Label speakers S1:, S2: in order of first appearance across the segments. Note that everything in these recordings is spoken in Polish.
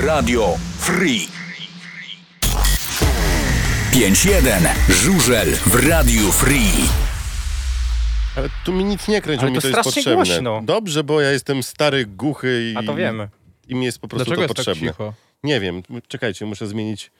S1: Radio Free. 5-1. Żużel w Radiu Free.
S2: Ale tu mi nic nie kręć, bo
S3: Ale
S2: mi
S3: to
S2: to jest
S3: strasznie
S2: potrzebne.
S3: głośno.
S2: Dobrze, bo ja jestem stary, głuchy i...
S3: A to wiemy.
S2: I mi jest po prostu
S4: Dlaczego
S2: to
S4: jest tak
S2: potrzebne.
S4: cicho?
S2: nie wiem, czekajcie, muszę zmienić...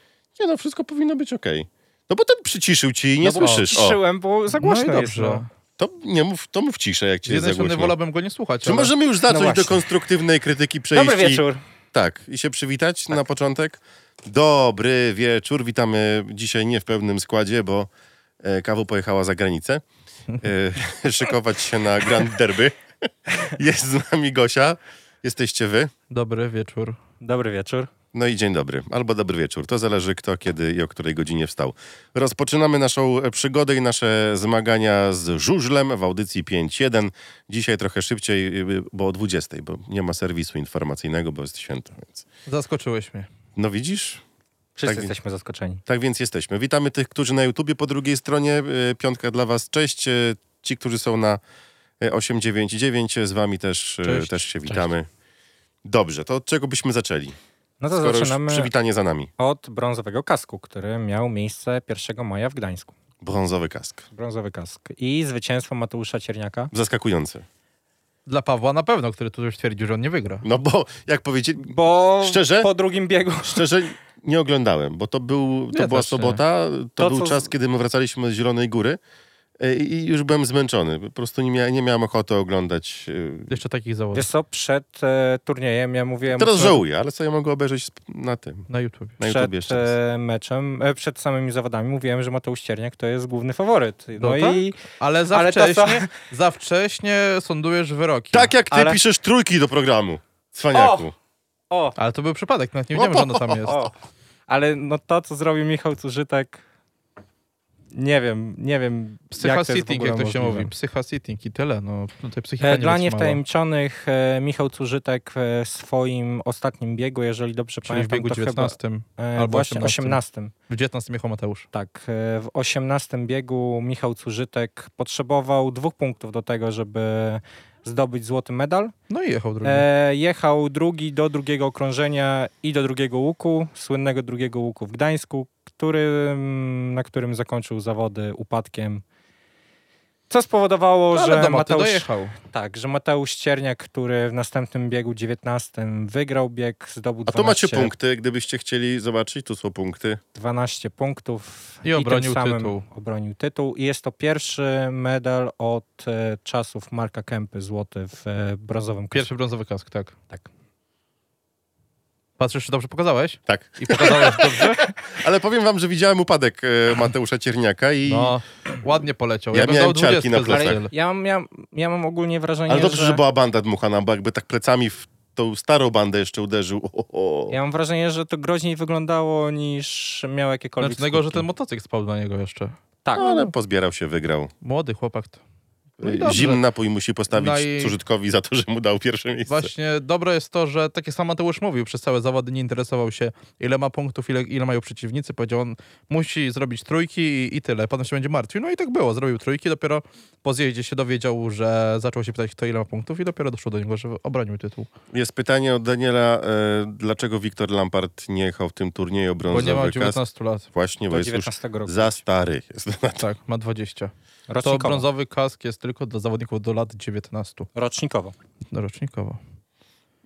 S2: Nie no, wszystko powinno być okej. No bo ten przyciszył ci i nie
S3: No bo
S2: słyszysz. O,
S3: Ciszyłem, bo za głośno
S4: no i
S3: jest.
S4: dobrze.
S3: No.
S2: to, nie mów, to mów ciszę, jak
S4: Z
S2: ci jest za
S4: jednej strony
S2: głośno.
S4: wolałbym go nie słuchać,
S2: Czy
S4: ale...
S2: możemy już zacząć do
S3: No właśnie.
S2: konstruktywnej krytyki przejść?
S3: Dobry
S2: i-
S3: wieczór.
S2: Tak, i się przywitać na początek. Dobry wieczór, witamy dzisiaj nie w pełnym składzie, bo e, Kawu pojechała za granicę e, szykować się na Grand Derby. Jest z nami Gosia, jesteście wy.
S4: Dobry wieczór.
S3: Dobry wieczór.
S2: No i dzień dobry, albo dobry wieczór. To zależy kto, kiedy i o której godzinie wstał. Rozpoczynamy naszą e, przygodę i nasze zmagania z żużlem w audycji 5.1. Dzisiaj trochę szybciej, y, bo o 20.00, bo nie ma serwisu informacyjnego, bo jest święto. Więc...
S4: Zaskoczyłeś mnie.
S2: No widzisz,
S3: Wszyscy
S2: Tak.
S3: jesteśmy zaskoczeni.
S2: Tak więc jesteśmy. Witamy tych, którzy na YouTubie po drugiej stronie. E, Piątka dla Was, cześć. E, Ci, którzy są na e, 899, e, z Wami też, e,
S4: Cześć.
S2: też się witamy. Dobrze, to od czego byśmy zaczęli?
S3: No to
S2: Skoro już
S3: zaczynamy
S2: przywitanie za nami.
S3: od brązowego kasku, który miał miejsce 1 maja w Gdańsku.
S2: Brązowy kask.
S3: Brązowy kask. I zwycięstwo Mateusza Cierniaka.
S2: Zaskakujący.
S4: Dla Pawła na pewno, który tu już twierdził, że on nie wygra.
S2: No bo, jak powiedzieli,
S3: Bo
S2: Szczerze?
S3: po drugim biegu
S2: szczerze nie oglądałem, bo to, był, to
S4: Ja
S2: była
S4: też nie.
S2: sobota, to,
S3: To,
S2: był
S3: co-
S2: czas, kiedy my wracaliśmy z Zielonej Góry e, i już byłem zmęczony. Po prostu nie, mia nie miałem ochoty oglądać. e,
S4: Jeszcze takich zawodów
S3: Wiesz co, przed e, turniejem ja mówiłem...
S2: Teraz
S3: mocno-
S2: żałuję, ale sobie mogę obejrzeć sp- na tym,
S4: na YouTubie.
S2: na
S3: przed
S2: YouTube jeszcze raz.
S3: e, meczem, e, przed samymi zawodami mówiłem, że Mateusz Cierniak to jest główny faworyt. No,
S4: No tak?
S3: i
S4: Ale za
S3: Ale to
S4: wcześnie, za wcześnie sądujesz wyroki.
S2: Tak jak ty
S3: Ale-
S2: piszesz trójki do programu, cwaniaku.
S3: o,
S4: Ale to był przypadek, nawet nie wiemy, że ono tam jest.
S3: o, ale no to, co zrobił Michał Cużytek, nie wiem, nie wiem,
S4: Psycha
S3: jak to jest w
S4: sitting,
S3: ogóle
S4: jak to się
S3: możliwe.
S4: mówi. Psycha sitting i tyle. No, tutaj psychika
S3: E,
S4: nie
S3: Dla
S4: wytrzymała.
S3: niewtajemniczonych e, Michał Cużytek e, w swoim ostatnim biegu, jeżeli dobrze
S4: Czyli w
S3: pamiętam,
S4: biegu
S3: to
S4: 19,
S3: chyba e,
S4: albo
S3: właśnie
S4: 18.
S3: 18.
S4: w 19 jechał Mateusz.
S3: Tak, e, w 18 biegu Michał Cużytek potrzebował dwóch punktów do tego, żeby zdobyć złoty medal.
S4: No i jechał drugi.
S3: E, jechał drugi do drugiego okrążenia i do drugiego łuku, słynnego drugiego łuku w Gdańsku, który, na którym zakończył zawody upadkiem. Co spowodowało,
S4: No,
S3: że
S4: Ale do Maty
S3: No, Mateusz,
S4: dojechał.
S3: tak, że Mateusz Cierniak, który w następnym biegu 19 wygrał bieg, zdobył
S2: A tu macie
S3: 12,
S2: punkty, gdybyście chcieli zobaczyć, tu są punkty.
S3: 12 punktów
S4: I obronił
S3: tym samym
S4: tytuł.
S3: obronił tytuł. I jest to pierwszy medal od e, czasów Marka Kępy złoty w e, brązowym kasie.
S4: Pierwszy brązowy kask, tak.
S3: Tak.
S4: Patrzysz, czy dobrze pokazałeś?
S2: Tak.
S4: I pokazałeś dobrze?
S2: Ale powiem wam, że widziałem upadek e, Mateusza Cierniaka i...
S4: No, ładnie poleciał.
S2: Ja
S4: Ja, bym
S2: miałem
S4: dał
S2: ciarki
S4: 20
S2: na
S4: za Znaczy,
S2: plecach.
S4: styl.
S3: Ja mam, ja, ja mam ogólnie wrażenie,
S2: Ale dobrze,
S3: że...
S2: że... była banda dmuchana, bo jakby tak plecami w tą starą bandę jeszcze uderzył. O, o, o.
S3: Ja mam wrażenie, że to groźniej wyglądało niż miał jakiekolwiek
S4: Znaczy, najgorzej, że
S3: skutki.
S4: ten motocykl spadł na niego jeszcze.
S3: Tak,
S2: No, ale pozbierał się, wygrał.
S4: Młody chłopak. to- No i
S2: E,
S4: dobrze.
S2: Zimny napój musi postawić
S4: No i-
S2: Cużytkowi za to, że mu dał pierwsze miejsce.
S4: Właśnie dobre jest to, że takie samo Mateusz mówił, przez całe zawody nie interesował się, ile ma punktów, ile, ile mają przeciwnicy. Powiedział, on musi zrobić trójki i, i tyle, potem się będzie martwił. No i tak było, zrobił trójki, dopiero po zjeździe się dowiedział, że zaczął się pytać, kto ile ma punktów i dopiero doszło do niego, że obronił tytuł.
S2: Jest pytanie od Daniela, e, dlaczego Wiktor Lampard nie jechał w tym turnieju
S4: Bo
S2: brązowy
S4: nie ma
S2: kask?
S4: 19 lat.
S2: Właśnie, bo
S3: do
S2: jest już
S3: 19 roku.
S2: za stary. Jest na
S4: Tak, ma 20. To
S3: Rocznikowo.
S4: brązowy kask jest tylko dla zawodników do lat 19
S3: Rocznikowo.
S4: rocznikowo.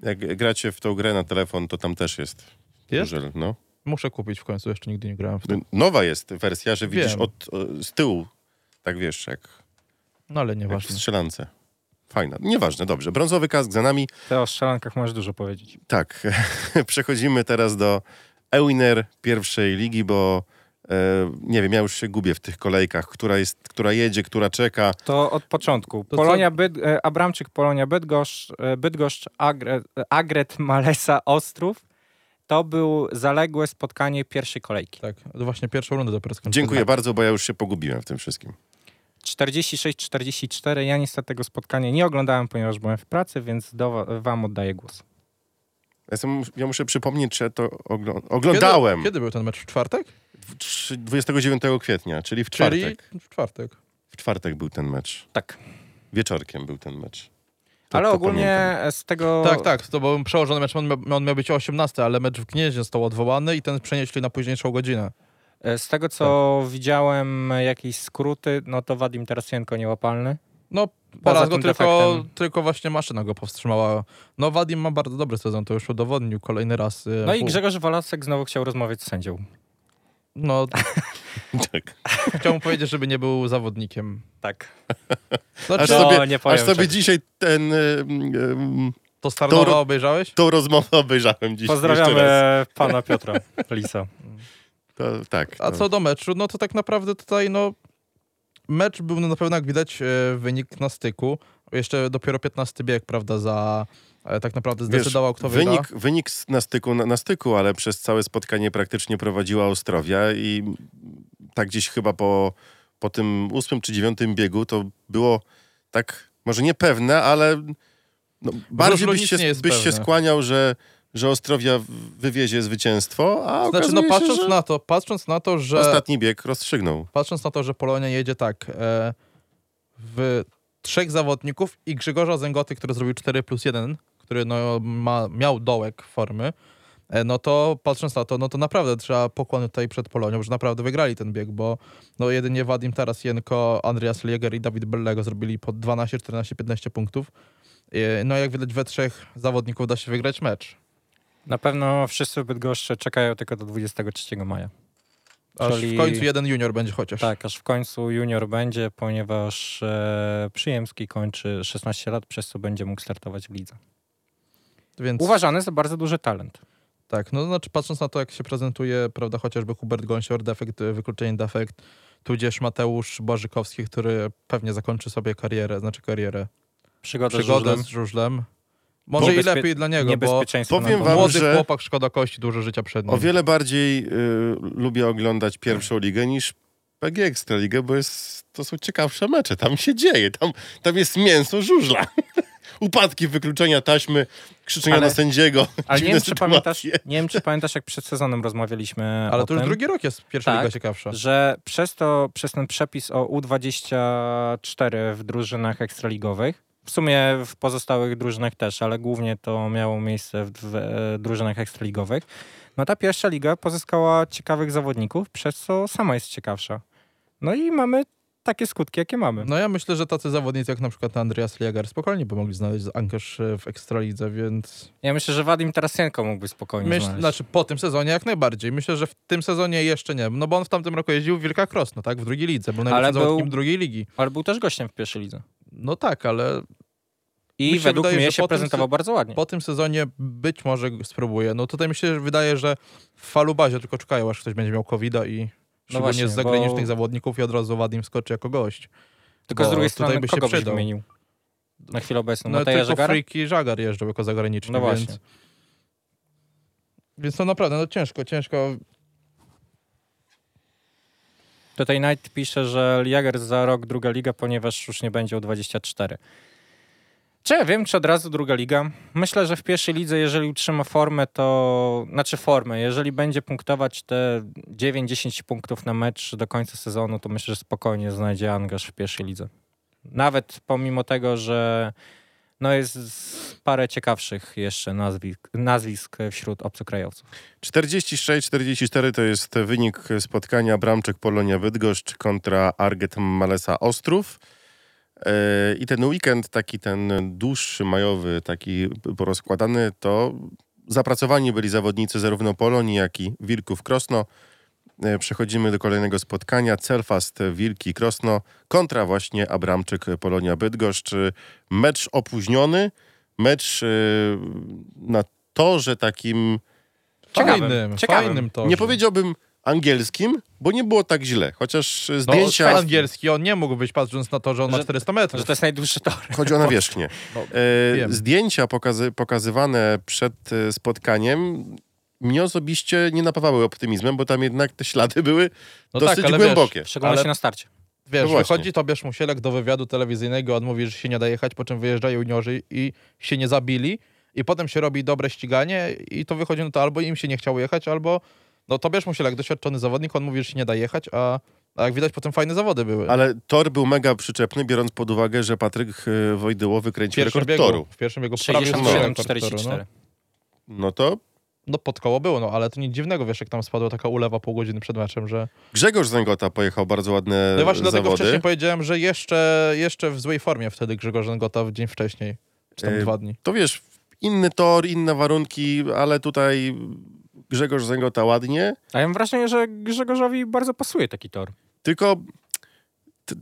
S2: Jak gracie w tą grę na telefon, to tam też jest.
S4: Jest?
S2: Żel, no.
S4: Muszę kupić w końcu, jeszcze nigdy nie grałem w to.
S2: Nowa jest wersja, że widzisz
S4: Wiem.
S2: od, e, z tyłu, tak wiesz, jak,
S4: No ale
S2: jak w
S4: nieważne.
S2: strzelance. Fajna. Nieważne, dobrze. Brązowy kask za nami.
S3: Ty o strzelankach możesz dużo powiedzieć.
S2: Tak, przechodzimy teraz do Ewiner pierwszej ligi, bo e, nie wiem, ja już się gubię w tych kolejkach, która, jest, która jedzie, która czeka.
S3: To od początku.
S4: co?
S3: Polonia Byd... e, Abramczyk, Polonia Bydgoszcz, e, Bydgoszcz Agre... e, Agret, Malesa, Ostrów. To był zaległe spotkanie pierwszej kolejki.
S4: Tak, to właśnie pierwszą rundę dopiero skończyłem. Tak.
S2: Dziękuję bardzo, bo ja już się pogubiłem w tym wszystkim.
S3: 46-44. Ja niestety tego spotkania nie oglądałem, ponieważ byłem w pracy, więc do wa- wam oddaję głos.
S2: Ja, jestem, ja muszę przypomnieć, że to oglą
S4: Kiedy-
S2: oglądałem
S4: Kiedy był ten mecz? W czwartek?
S2: Trzy- 29 kwietnia, czyli w
S4: Czyli
S2: czwartek.
S4: w czwartek.
S2: W czwartek był ten mecz.
S3: Tak.
S2: Wieczorkiem był ten mecz. To-
S3: Ale
S2: to
S3: ogólnie z tego...
S4: Tak, tak, to był przełożony mecz, on miał, on miał być o 18, ale mecz w Gnieźnie został odwołany i ten przenieśli na późniejszą godzinę.
S3: E, Z tego, co
S2: Tak.
S3: widziałem, e, jakieś skróty, no to Wadim Tarasienko niełapalny.
S4: No, po
S3: Poza
S4: raz go
S3: tym
S4: tylko,
S3: defektem.
S4: tylko właśnie maszyna go powstrzymała. No, Wadim ma bardzo dobry sezon, to już udowodnił kolejny raz. y,
S3: No i
S4: pół.
S3: Grzegorz Walasek znowu chciał rozmawiać z sędzią.
S4: No,
S2: Tak.
S4: chciałbym powiedzieć, żeby nie był zawodnikiem.
S3: Tak.
S2: Aż
S4: Znaczy,
S3: No,
S2: sobie,
S3: nie powiem
S2: aż sobie
S3: czego.
S2: dzisiaj ten, y, mm, y,
S4: to Starnowa
S2: to-
S4: obejrzałeś?
S2: tą rozmowę obejrzałem dzisiaj.
S3: Pozdrawiamy
S2: jeszcze raz.
S3: pana Piotra Lisa.
S2: To, tak.
S4: A
S2: no.
S4: co do meczu, no to tak naprawdę tutaj, no, mecz był no, na pewno, jak widać, e, wynik na styku. Jeszcze dopiero 15 bieg, prawda, za... e, Tak naprawdę
S2: Wiesz,
S4: zdecydował, kto wygra.
S2: wynik, wynik s- na styku, na, na styku, ale przez całe spotkanie praktycznie prowadziła Ostrowia i tak gdzieś chyba po, po tym ósmym czy dziewiątym biegu to było tak, może niepewne, ale no, bardziej
S4: żużlu
S2: byś,
S4: nic
S2: się,
S4: nie jest
S2: byś się
S4: pewne.
S2: skłaniał, że, że Ostrowia w- wywiezie zwycięstwo, a
S4: Znaczy, no
S2: okazuje
S4: patrząc
S2: się, że
S4: na to, patrząc na to, że...
S2: ostatni bieg rozstrzygnął.
S4: patrząc na to, że Polonia jedzie tak e, w trzech zawodników i Grzegorza Zęgoty, który zrobił 4 plus 1, który no, ma, miał dołek formy, e, no to patrząc na to, no to naprawdę trzeba pokłon tutaj przed Polonią, że naprawdę wygrali ten bieg, bo no jedynie Wadim Tarasienko, Andreas Leger i Dawid Bellego zrobili po 12, 14, 15 punktów. E, No jak widać we trzech zawodników da się wygrać mecz.
S3: Na pewno wszyscy w Bydgoszczy czekają tylko do 23 maja.
S4: Aż
S3: Czyli-
S4: w końcu jeden junior będzie chociaż.
S3: Tak, aż w końcu junior będzie, ponieważ e, Przyjemski kończy 16 lat, przez co będzie mógł startować w lidze.
S4: Więc...
S3: Uważany za bardzo duży talent.
S4: Tak, no znaczy patrząc na to, jak się prezentuje, prawda, chociażby Hubert Gąsior, defekt, y, wykluczenie defekt, tudzież Mateusz Bożykowski, który pewnie zakończy sobie karierę, znaczy karierę,
S3: Przygoda
S4: przygodę
S3: z
S4: z żużlem. Może i
S3: Niebezpie-
S4: lepiej dla niego, bo
S3: Niebezpieczeństwo.
S2: Powiem
S3: na
S2: wam,
S3: boku.
S4: młody
S2: że-
S4: chłopak, szkoda kości, dużo życia przed nim.
S2: O wiele bardziej y, lubię oglądać pierwszą ligę niż PG Ekstraligę, bo jest, to są ciekawsze mecze. Tam się dzieje, tam, tam jest mięso żużla. Upadki, wykluczenia taśmy, krzyczenia
S3: Ale-
S2: na sędziego.
S3: Ale nie
S2: dziwne
S3: wiem, czy
S2: sytuacje.
S3: pamiętasz, nie wiem, czy pamiętasz, jak przed sezonem rozmawialiśmy
S4: Ale
S3: o
S4: to już
S3: tym,
S4: drugi rok jest pierwsza
S3: Tak.
S4: liga ciekawsza.
S3: że przez to, przez ten przepis o U24 w drużynach ekstraligowych, w sumie w pozostałych drużynach też, ale głównie to miało miejsce w, w e, drużynach ekstraligowych, no ta pierwsza liga pozyskała ciekawych zawodników, przez co sama jest ciekawsza. No i mamy takie skutki, jakie mamy.
S4: No ja myślę, że tacy zawodnicy jak na przykład Andreas Leger spokojnie by mogli znaleźć ankerz y, w Ekstralidze, więc
S3: Ja myślę, że Wadim Tarasienko mógłby spokojnie
S4: Myśl,
S3: znaleźć.
S4: znaczy po tym sezonie jak najbardziej. Myślę, że w tym sezonie jeszcze nie, no bo on w tamtym roku jeździł w Wilka Krosno, tak? W drugiej lidze, był najlepszym
S3: był-
S4: zawodnikiem drugiej ligi.
S3: Ale był też gościem w pierwszej lidze.
S4: No tak, ale
S3: I
S4: Mi się
S3: według
S4: wydaje,
S3: mnie
S4: że
S3: się
S4: po tym
S3: prezentował bardzo ładnie.
S4: po tym sezonie być może spróbuje. No tutaj mi się wydaje, że w falubazie tylko czekają, aż ktoś będzie miał covid i szczególnie
S3: No właśnie,
S4: z zagranicznych
S3: bo-
S4: zawodników i od razu Wadim skoczy jako gość.
S3: Tylko z
S4: bo
S3: drugiej
S4: tutaj
S3: strony
S4: by się
S3: kogo byś
S4: przydał.
S3: wymienił? Na chwilę obecną.
S4: No,
S3: No, Mateja
S4: tylko
S3: Żegara?
S4: Friki Żagar jeżdżał jako zagraniczny,
S3: No właśnie.
S4: więc... Więc to naprawdę, no ciężko, ciężko.
S3: Tutaj Knight pisze, że Jager za rok druga liga, ponieważ już nie będzie o 24. Czy ja wiem, czy od razu druga liga? Myślę, że w pierwszej lidze, jeżeli utrzyma formę, to znaczy formę, jeżeli będzie punktować te 9-10 punktów na mecz do końca sezonu, to myślę, że spokojnie znajdzie angaż w pierwszej lidze. Nawet pomimo tego, że no jest parę ciekawszych jeszcze nazwisk, nazwisk wśród obcokrajowców.
S2: 46-44 to jest wynik spotkania Bramczyk Polonia Bydgoszcz kontra Arget Malesa Ostrów. E, I ten weekend, taki ten dłuższy, majowy, taki porozkładany, to zapracowani byli zawodnicy zarówno Polonii, jak i Wilków Krosno. E, Przechodzimy do kolejnego spotkania. Celfast Wilki Krosno kontra właśnie Abramczyk Polonia Bydgoszcz. Mecz opóźniony, mecz e, na torze takim
S3: Ciekawym,
S4: Fajnym,
S3: ciekawym.
S4: No fajnym to.
S2: nie powiedziałbym angielskim, bo nie było tak źle. Chociaż e,
S4: No,
S2: zdjęcia.
S4: angielski on nie mógł być, patrząc na to, że on ma
S3: Że-
S4: 400 metrów.
S3: Że to jest najdłuższy tor.
S2: chodzi o nawierzchnię.
S4: No,
S2: e,
S4: wiem.
S2: zdjęcia pokazy, pokazywane przed e, spotkaniem mnie osobiście nie napawały optymizmem, bo tam jednak te ślady były
S4: No
S2: dosyć
S4: tak, ale wiesz,
S2: głębokie. No
S3: W szczególności
S4: Ale-
S3: na starcie.
S4: Wiesz,
S2: właśnie.
S4: wychodzi Tobiasz Musielek do wywiadu telewizyjnego, on mówi, że się nie da jechać, po czym wyjeżdżają juniorzy i się nie zabili i potem się robi dobre ściganie i to wychodzi, no to albo im się nie chciało jechać, albo no Tobiasz Musielek, doświadczony zawodnik, on mówi, że się nie da jechać, a A jak widać, potem fajne zawody były.
S2: Ale tor był mega przyczepny, biorąc pod uwagę, że Patryk e, Wojdyło
S4: w
S2: wykręcił
S4: pierwszym
S2: rekord
S4: biegu,
S2: toru.
S4: w pierwszym biegu prawie już
S2: 67,
S4: rekord toru,
S3: 67,44.
S4: no.
S2: No to
S4: no pod koło było, no ale to nic dziwnego, wiesz, jak tam spadła taka ulewa pół godziny przed meczem, że...
S2: Grzegorz Zęgota pojechał bardzo ładne
S4: No i właśnie
S2: zawody.
S4: dlatego wcześniej powiedziałem, że jeszcze, jeszcze w złej formie wtedy Grzegorz Ngota w dzień wcześniej, czy tam
S2: E,
S4: dwa dni.
S2: To wiesz, inny tor, inne warunki, ale tutaj Grzegorz Zęgota ładnie,
S3: A ja mam wrażenie, że Grzegorzowi bardzo pasuje taki tor.
S2: tylko t-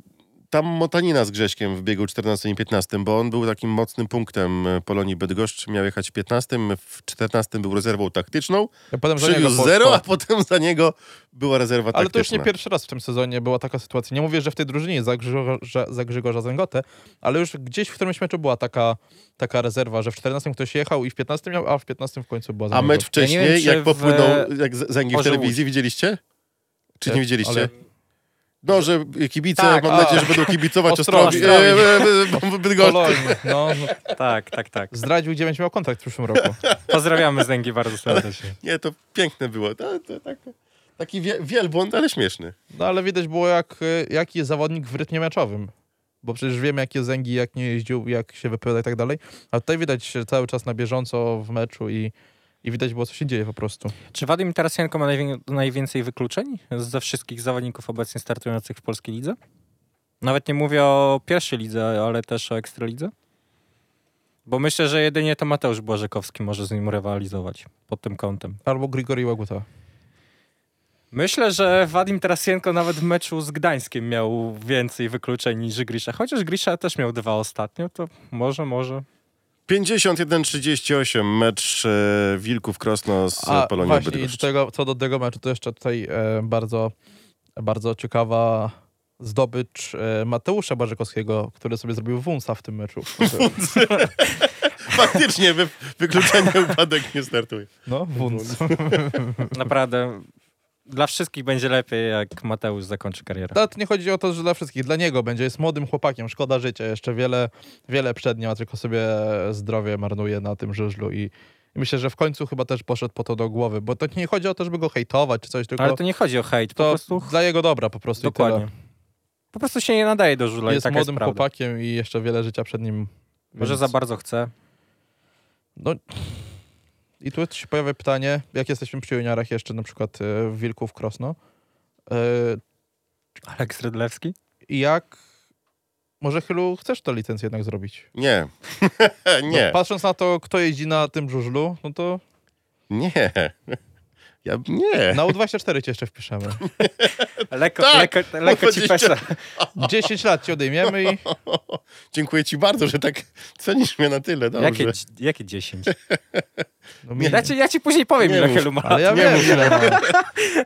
S2: tam motanina z Grześkiem w biegu 14 i 15, bo on był takim mocnym punktem e, Polonii Bydgoszcz, miał jechać w 15, w 14 był rezerwą taktyczną,
S4: Ja potem za niego
S2: przywiózł
S4: po-
S2: zero,
S4: po-
S2: a potem za niego była rezerwa
S4: Ale to już
S2: taktyczna.
S4: nie pierwszy raz w tym sezonie była taka sytuacja. Nie mówię, że w tej drużynie za Grzegorza, za Grzegorza Zęgotę, ale już gdzieś w którymś meczu była taka, taka rezerwa, że w 14 ktoś jechał i w 15 miał, a w 15 w końcu była
S2: A
S4: Zęgota.
S2: mecz
S3: Ja nie
S2: wcześniej,
S3: wiem, czy
S2: jak
S3: w-
S2: popłynął, jak z- zęgi w
S3: Orzeł
S2: telewizji, widzieliście? Czy nie
S4: Nie,
S2: widzieliście?
S4: ale-
S2: No, że kibice,
S3: Tak,
S2: mam
S4: a.
S2: nadzieję, że będą kibicować
S4: Ostrowi.
S2: Ostrowi. E, e, e, Bydgoszczy.
S4: Polonia, no, no,
S3: Tak, tak, tak.
S4: zdradził, gdzie będzie miał kontrakt w przyszłym roku.
S3: Pozdrawiamy Zęgi bardzo serdecznie.
S2: Nie, to piękne było. To, to, tak, taki wie, wielbłąd, ale śmieszny.
S4: No ale widać było, jak, y, jaki jest zawodnik w rytmie meczowym. Bo przecież wiemy, jakie zęgi, jak nie jeździł, jak się wypowiada i tak dalej. A tutaj widać się cały czas na bieżąco w meczu i, i widać było, co się dzieje po prostu.
S3: Czy Wadim Tarasienko ma najwię- najwięcej wykluczeń ze wszystkich zawodników obecnie startujących w polskiej lidze? Nawet nie mówię o pierwszej lidze, ale też o ekstralidze? Bo myślę, że jedynie to Mateusz Błażekowski może z nim rywalizować pod tym kątem.
S4: Albo Grigori Łaguta.
S3: Myślę, że Wadim Tarasienko nawet w meczu z Gdańskiem miał więcej wykluczeń niż Grisza. Chociaż Grisza też miał dwa ostatnio, to może, może.
S2: 51-38 mecz e, Wilków Krosno z
S4: A
S2: Polonią
S4: właśnie, i do
S2: Bydgoszcz.
S4: tego, co do tego meczu, to jeszcze tutaj e, bardzo, bardzo ciekawa zdobycz e, Mateusza Barzykowskiego, który sobie zrobił wunsa w tym meczu.
S2: Faktycznie wy, wykluczenie upadek nie startuje.
S4: No, wuns.
S3: Naprawdę dla wszystkich będzie lepiej, jak Mateusz zakończy karierę.
S4: Ale to nie chodzi o to, że dla wszystkich, dla niego będzie. Jest młodym chłopakiem, szkoda życia, jeszcze wiele, wiele przed nim, a tylko sobie zdrowie marnuje na tym żużlu i i myślę, że w końcu chyba też poszedł po to do głowy, bo to nie chodzi o to, żeby go hejtować czy coś, tylko
S3: Ale
S4: to,
S3: to nie chodzi o hejt, po prostu
S4: dla jego dobra po prostu i
S3: Dokładnie.
S4: tyle.
S3: Po prostu się nie nadaje do żula i
S4: Jest
S3: taka jest
S4: młodym
S3: prawda.
S4: chłopakiem i jeszcze wiele życia przed nim.
S3: Może
S4: więc-
S3: za bardzo chce.
S4: No. I tu się pojawia pytanie, jak jesteśmy przy juniorach jeszcze, na przykład e, w Wilków Krosno, e,
S3: Aleks Rydlewski?
S4: i jak, może Chylu chcesz tę licencję jednak zrobić?
S2: Nie. nie.
S4: No, patrząc na to, kto jeździ na tym żużlu, no to
S2: Nie. Ja nie.
S4: na U24 cię jeszcze wpiszemy.
S3: Lekko,
S2: Tak!
S3: lekko, lekko ci
S2: Powiedziałem.
S3: pesza.
S4: 10 lat ci odejmiemy i
S2: Dziękuję ci bardzo, że tak cenisz mnie na tyle. Dobrze.
S3: Jakie, dzi- jakie 10?
S4: no,
S3: Ja ci, ja ci później powiem,
S2: Nie
S3: ile
S2: mów.
S3: Helu ma.
S4: Ale ja
S2: Nie
S4: wiem,
S2: mów.
S4: ile ma.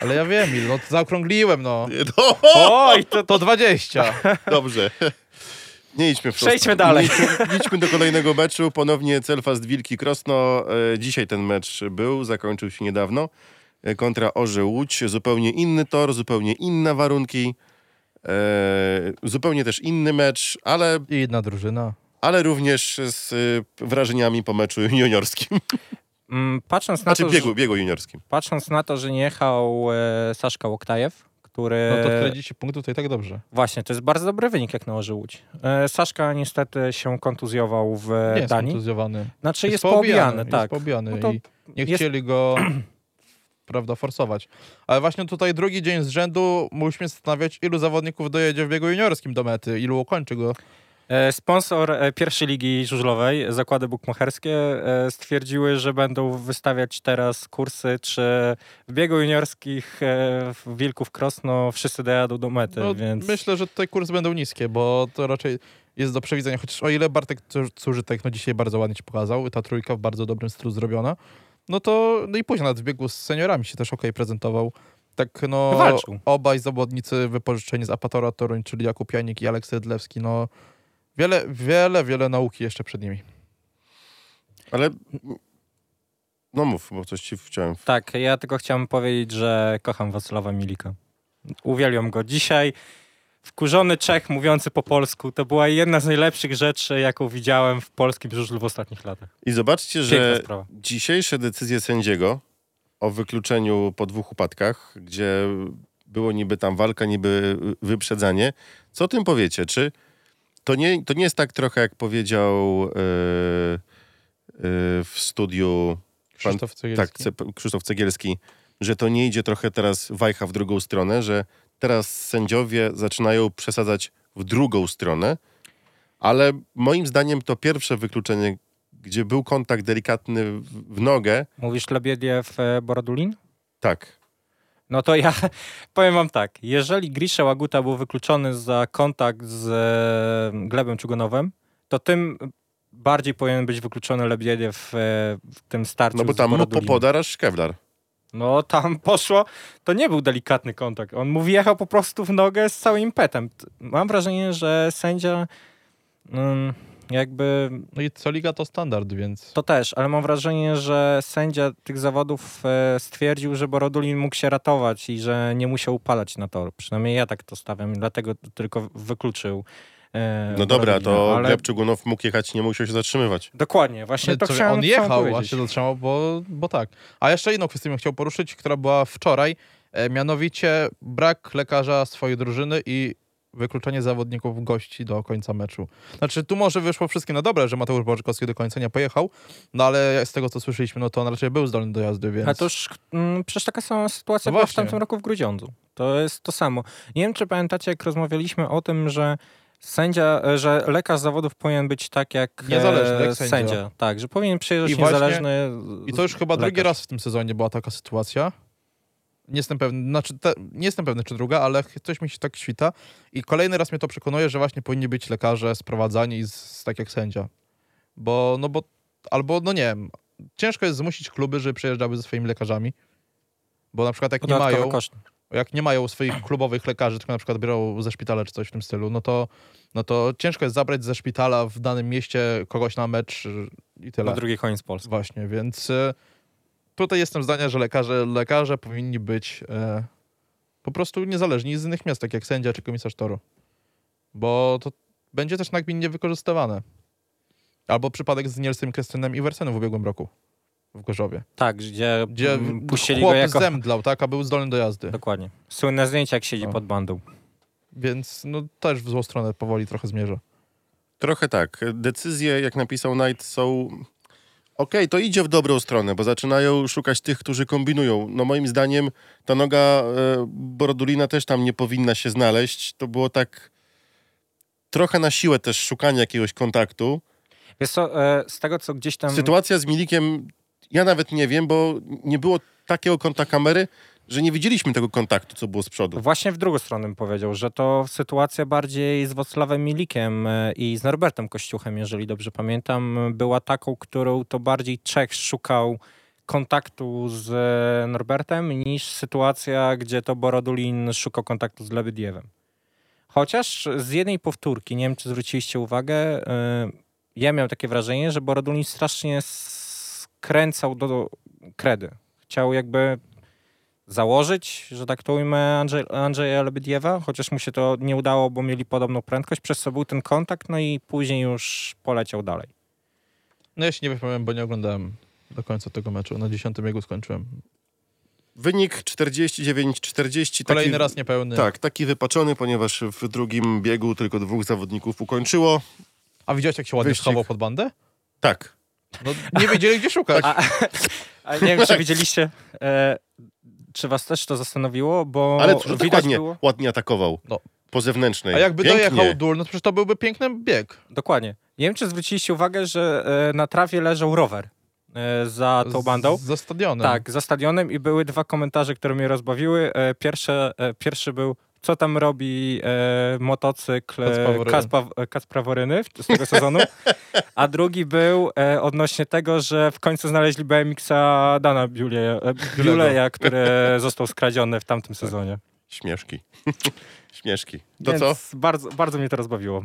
S4: Ale ja wiem, ile. No, to zaokrągliłem, no.
S2: No,
S3: Oj, to,
S4: To 20.
S2: Dobrze. Nie idźmy w tą
S3: Przejdźmy
S2: stronę.
S3: dalej.
S2: Nie idźmy- Idźmy do kolejnego meczu. Ponownie Celfast Wilki Krosno. E, Dzisiaj ten mecz był, zakończył się niedawno. E, Kontra Orze Łódź. Zupełnie inny tor, zupełnie inne warunki. E, zupełnie też inny mecz, ale,
S4: I jedna drużyna.
S2: ale również z e, wrażeniami po meczu
S3: No
S2: juniorskim.
S3: Mm, patrząc, na
S2: Znaczy
S3: to,
S2: biegu,
S3: Że,
S2: biegu juniorskim.
S3: patrząc na to, że nie jechał e, Saszka Łoktajew, który...
S4: No to 40 punktów to i tak dobrze.
S3: Właśnie, to jest bardzo dobry wynik, jak nałoży Łódź. E, Saszka niestety się kontuzjował w e,
S4: Nie jest
S3: Danii.
S4: kontuzjowany.
S3: Znaczy jest, poobijany, tak.
S4: Jest poobijany
S3: No to
S4: i nie
S3: jest-
S4: chcieli go, prawda, forsować. Ale właśnie tutaj drugi dzień z rzędu musimy zastanawiać, ilu zawodników dojedzie w biegu juniorskim do mety, ilu ukończy go.
S3: E, Sponsor e, pierwszej ligi żużlowej, zakłady bukmacherskie, e, stwierdziły, że będą wystawiać teraz kursy, czy w biegu juniorskich e, w Wilków Krosno wszyscy dojadą do mety,
S4: No,
S3: więc
S4: Myślę, że tutaj kursy będą niskie, bo to raczej jest do przewidzenia. Chociaż o ile Bartek Cu- Cużytek no dzisiaj bardzo ładnie ci pokazał, ta trójka w bardzo dobrym stylu zrobiona, no to no i później nawet w biegu z seniorami się też okej prezentował. Tak no,
S3: Walczył.
S4: obaj zawodnicy wypożyczeni z Apatora Toruń, czyli Jakub Janik i Aleks Rydlewski, no wiele, wiele, wiele nauki jeszcze przed nimi.
S2: Ale no mów, bo coś ci chciałem.
S3: tak, ja tylko chciałem powiedzieć, że kocham Wacława Milika. Uwielbiam go. Dzisiaj wkurzony Czech mówiący po polsku to była jedna z najlepszych rzeczy, jaką widziałem w polskim żużlu w ostatnich latach.
S2: I zobaczcie,
S3: Piękna
S2: że
S3: sprawa.
S2: dzisiejsze decyzje sędziego o wykluczeniu po dwóch upadkach, gdzie było niby tam walka, niby wyprzedzanie. Co o tym powiecie? Czy to nie, to nie jest tak trochę, jak powiedział e, e, w studiu pan-
S4: Krzysztof
S2: tak,
S4: Cegielski.
S2: Ce- Krzysztof Cegielski, że to nie idzie trochę teraz wajcha w drugą stronę, że teraz sędziowie zaczynają przesadzać w drugą stronę, ale moim zdaniem to pierwsze wykluczenie, gdzie był kontakt delikatny w- w nogę,
S3: Mówisz Lebiediew, e, Borodulin?
S2: tak.
S3: No to ja powiem wam tak. Jeżeli Grisha Łaguta był wykluczony za kontakt z e, Glebem Czugonowem, to tym bardziej powinien być wykluczony Lebiediew e, w tym starciu
S2: No bo
S3: z
S2: tam mu
S3: Borodulinem.
S2: popodarasz szkewlar.
S3: No tam poszło, to nie był delikatny kontakt. On mu wjechał po prostu w nogę z całym impetem. T- Mam wrażenie, że sędzia mm, jakby
S4: No i co liga to standard, więc
S3: to też, ale mam wrażenie, że sędzia tych zawodów e, stwierdził, że Borodulin mógł się ratować i że nie musiał upadać na tor. Przynajmniej ja tak to stawiam, dlatego t- tylko wykluczył. e,
S2: No dobra,
S3: Borodulina,
S2: to ale... Gleb Czugunow mógł jechać, nie musiał się zatrzymywać.
S3: Dokładnie, właśnie to
S4: co,
S3: chciałem
S4: on
S3: chciałem
S4: jechał, a
S3: powiedzieć.
S4: się zatrzymał, bo, bo tak. A jeszcze inną kwestię bym chciał poruszyć, która była wczoraj, e, mianowicie brak lekarza swojej drużyny i wykluczenie zawodników gości do końca meczu. Znaczy, tu może wyszło wszystkim na dobre, że Mateusz Bożkowski do końca nie pojechał, no ale z tego, co słyszeliśmy, no to on raczej był zdolny do jazdy, więc...
S3: A to już, mm, przecież taka sama sytuacja
S4: No
S3: była w
S4: właśnie.
S3: tamtym roku w Grudziądzu. To jest to samo. Nie wiem, czy pamiętacie, jak rozmawialiśmy o tym, że sędzia, e, że lekarz zawodów powinien być tak jak, e,
S4: Niezależny, jak sędzia.
S3: Tak, że powinien przyjeżdżać
S4: I właśnie-
S3: niezależny.
S4: I to już chyba
S3: lekarz.
S4: drugi raz w tym sezonie była taka sytuacja. Nie jestem pewny, znaczy te, nie jestem pewny, czy druga, ale ch- coś mi się tak świta. I kolejny raz mnie to przekonuje, że właśnie powinni być lekarze sprowadzani z, z tak jak sędzia. Bo, no bo, albo, no nie wiem, ciężko jest zmusić kluby, żeby przyjeżdżały ze swoimi lekarzami. Bo na przykład jak nie
S3: Dodatkowe
S4: mają,
S3: koszty.
S4: jak nie mają swoich klubowych lekarzy, tylko na przykład biorą ze szpitala czy coś w tym stylu, no to, no to ciężko jest zabrać ze szpitala w danym mieście kogoś na mecz y, i tyle.
S3: Na drugi koniec Polski.
S4: Właśnie, więc e, tutaj jestem zdania, że lekarze, lekarze powinni być e, po prostu niezależni z innych miast, tak jak sędzia czy komisarz toru. Bo to będzie też nagminnie wykorzystywane. Albo przypadek z Nielsem Krystynem i Wersenem w ubiegłym roku w Gorzowie,
S3: Tak, gdzie,
S4: gdzie
S3: mm, puścili
S4: chłop
S3: go jako...
S4: zemdlał, tak, a był zdolny do jazdy.
S3: Dokładnie. Słynne zdjęcie, jak siedzi
S4: No.
S3: pod bandą.
S4: Więc no, też w złą stronę powoli trochę zmierza.
S2: Trochę tak. Decyzje, jak napisał Knight, są. Okej, to idzie w dobrą stronę, bo zaczynają szukać tych, którzy kombinują. No moim zdaniem ta noga e, Borodulina też tam nie powinna się znaleźć. To było tak trochę na siłę też szukanie jakiegoś kontaktu.
S3: Wiesz co, e, z tego, co gdzieś tam...
S2: Sytuacja z Milikiem, ja nawet nie wiem, bo nie było takiego kąta kamery, że nie widzieliśmy tego kontaktu, co było z przodu.
S3: Właśnie w drugą stronę bym powiedział, że to sytuacja bardziej z Wacławem Milikiem e, i z Norbertem Kościuchem, jeżeli dobrze pamiętam, e, była taką, którą to bardziej Czech szukał kontaktu z e, Norbertem niż sytuacja, gdzie to Borodulin szukał kontaktu z Lebydiewem. Chociaż z jednej powtórki, nie wiem czy zwróciliście uwagę, e, ja miałem takie wrażenie, że Borodulin strasznie skręcał do, do kredy. Chciał jakby założyć, że tak to ujmę, Andrzej, Andrzeja Lebediewa, chociaż mu się to nie udało, bo mieli podobną prędkość, przez co był ten kontakt, no i później już poleciał dalej.
S4: No ja się nie wypowiem, bo nie oglądałem do końca tego meczu. Na 10 jego skończyłem.
S2: Wynik 49-40.
S4: Kolejny
S2: taki-
S4: raz niepełny.
S2: Tak, taki wypaczony, ponieważ w drugim biegu tylko dwóch zawodników ukończyło.
S4: A widziałeś, jak się ładnie
S2: Wyścig.
S4: schował pod bandę?
S2: Tak.
S4: No, nie wiedzieli, gdzie szukać.
S3: A, a nie wiem, czy widzieliście, e, czy was też to zastanowiło, bo
S2: Ale to tak
S3: widać
S2: ładnie,
S3: było...
S2: ładnie atakował.
S4: No.
S2: Po zewnętrznej.
S4: A jakby
S2: Pięknie.
S4: dojechał dól, no to przecież to byłby piękny bieg.
S3: Dokładnie. Nie wiem, czy zwróciliście uwagę, że e, na trawie leżał rower e, za tą bandą.
S4: Z- Ze
S2: No.
S4: stadionem.
S3: Tak, za stadionem i były dwa komentarze, które mnie rozbawiły. E, Pierwsze, e, pierwszy był, co tam robi e, motocykl e,
S4: Kacpa Woryny.
S3: Kacpa, e, Kacpra Woryny w- z tego sezonu, a drugi był e, odnośnie tego, że w końcu znaleźli BMX-a Dana Biuleja, e, Biuleja który został skradziony w tamtym sezonie.
S2: Śmieszki. Śmieszki. To
S3: Więc
S2: co?
S3: Bardzo, bardzo mnie to rozbawiło.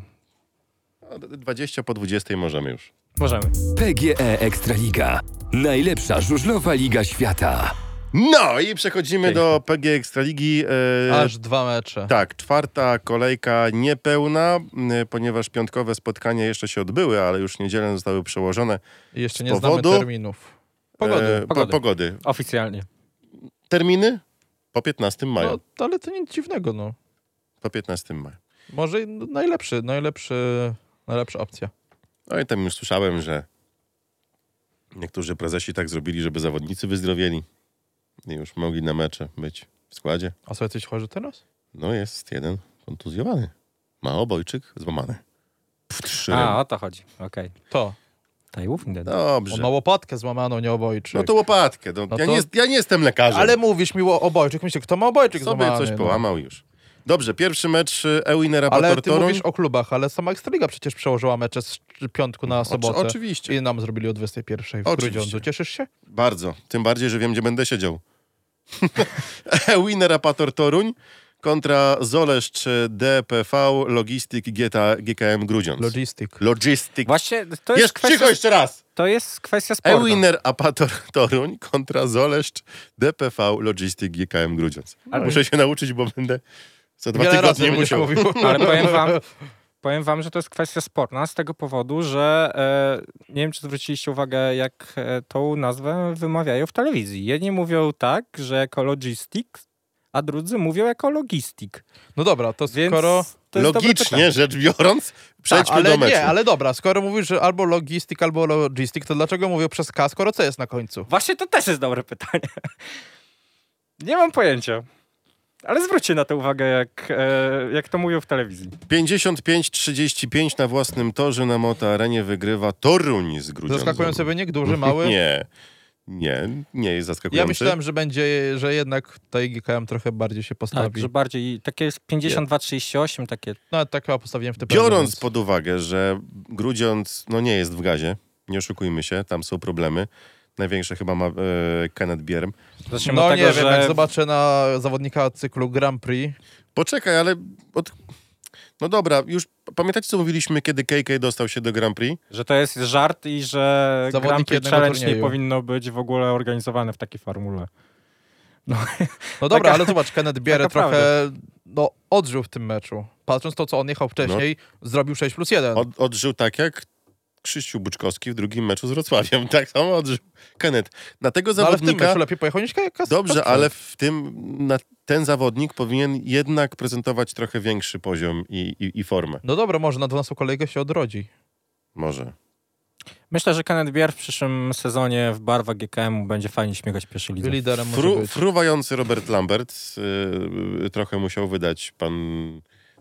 S2: 20 po 20 możemy już.
S3: Możemy.
S1: PGE E Ekstraliga. Najlepsza żużlowa liga świata.
S2: No i przechodzimy
S3: Pięknie.
S2: do PG Ekstraligi. E,
S4: Aż dwa mecze.
S2: Tak, czwarta kolejka niepełna, m, ponieważ piątkowe spotkania jeszcze się odbyły, ale już niedzielę zostały przełożone.
S4: I Jeszcze
S2: Z
S4: nie
S2: powodu-
S4: znamy terminów. Pogody.
S2: E, po-
S3: pogody.
S2: pogody.
S3: Oficjalnie.
S2: Terminy? Po 15 maja.
S4: No, ale to nic dziwnego, no.
S2: Po 15 maja.
S4: Może i n- najlepszy, najlepszy, najlepsza opcja.
S2: No i tam już słyszałem, że niektórzy prezesi tak zrobili, żeby zawodnicy wyzdrowieli i już mogli na mecze być w składzie.
S4: A są jacyś chorzy teraz?
S2: No jest jeden kontuzjowany. Ma obojczyk złamany. W trzy.
S3: A, o to chodzi. Okej.
S4: To.
S3: Okay. Walking Dead.
S2: Dobrze.
S4: On ma łopatkę złamaną, nie obojczyk.
S2: No to łopatkę. No,
S4: No
S2: ja,
S4: to-
S2: nie, jest- ja nie jestem lekarzem.
S4: Ale mówisz mi o obojczyk. Myślę, kto ma obojczyk
S2: Sobie
S4: złamany?
S2: coś
S4: no.
S2: połamał już. Dobrze, pierwszy mecz y, Ewinera
S4: Ale ty
S2: Batortoru.
S4: mówisz o klubach, ale sama Ekstraliga przecież przełożyła mecze z piątku na sobotę.
S2: oczywiście.
S4: I nam zrobili o 21 w
S2: Oczywiście.
S4: Grudziądzu. Cieszysz się?
S2: Bardzo. Tym bardziej, że wiem, gdzie będę siedział. Winner Apator Toruń kontra Zoleszcz DPV Logistik GTA, GKM Grudziądz.
S4: Logistik.
S2: Logistik.
S3: Właśnie to jest,
S2: Jeszcze, cicho
S3: kwestia,
S2: jeszcze raz.
S3: to jest kwestia sportu.
S2: Ewiner Apator Toruń kontra Zoleszcz DPV Logistik GKM Grudziądz.
S3: Ale-
S2: Muszę się nauczyć, bo będę co dwa
S4: Wiele razy
S2: tygodnie
S4: będziesz
S2: musiał.
S4: mówił.
S3: Ale powiem wam, powiem wam, że to jest kwestia sporna z tego powodu, że e, nie wiem, czy zwróciliście uwagę, jak e, tą nazwę wymawiają w telewizji. Jedni mówią tak, że jako logistik, a drudzy mówią jako logistik.
S4: No dobra, to
S3: Więc
S4: skoro...
S3: to jest dobre pytanie. Tak,
S2: Logicznie rzecz biorąc, przejdźmy
S4: ale
S2: do meczu.
S4: nie, ale dobra, skoro mówisz, że albo logistik, albo logistik, to dlaczego mówię przez K, skoro C jest na końcu?
S3: Właśnie to też jest dobre pytanie. Nie mam pojęcia. Ale zwróćcie na to uwagę, jak, e, jak to mówią w telewizji.
S2: 55-35 na własnym torze na Moto Arenie wygrywa Toruń z Grudziądza.
S4: Zaskakujący wynik, duży, mały.
S2: Nie, nie, nie jest zaskakujący.
S4: Ja myślałem, że będzie, że jednak tutaj GKM trochę bardziej się
S3: Tak,
S4: postawi.
S3: że bardziej takie jest 52-38, takie.
S4: No tak chyba postawiłem w tym
S2: Biorąc pod uwagę, że Grudziądz no, nie jest w gazie, nie oszukujmy się, tam są problemy. Największe chyba ma e, Kenneth Bierm.
S3: Zacznijmy
S4: No
S3: od
S4: nie
S3: tego,
S4: wiem,
S3: że
S4: jak zobaczę na zawodnika cyklu Grand Prix,
S2: Poczekaj, ale... Od... No dobra, już pamiętacie, co mówiliśmy, kiedy KK dostał się do Grand Prix?
S3: Że to jest żart i że
S4: Zawodnik
S3: Grand Prix
S4: jednego
S3: Challenge nie
S4: turnieju.
S3: powinno być w ogóle organizowane w takiej formule.
S4: No dobra,
S3: Taka-
S4: ale zobacz, Kenneth Bierę
S3: taka
S4: trochę no, odżył w tym meczu. Patrząc to, co on jechał wcześniej, zrobił 6 plus 1.
S2: No. Od, odżył tak jak Krzyściu Buczkowski w drugim meczu z Wrocławiem. Tak samo odżył Kenneth. Na tego
S4: no, ale w tym
S2: zawodnika...
S4: meczu lepiej pojechał niż Kas.
S2: Dobrze,
S4: Kasper.
S2: ale w tym na, ten zawodnik powinien jednak prezentować trochę większy poziom i, i, i formę.
S4: No dobra, może na 12 kolejkę się odrodzi.
S2: Może.
S3: Myślę, że Kenneth Bier w przyszłym sezonie w barwach GKM będzie fajnie śmigać pierwszy lidze.
S4: Liderem może
S2: Fru,
S4: być.
S2: fruwający Robert Lambert yy, trochę musiał wydać pan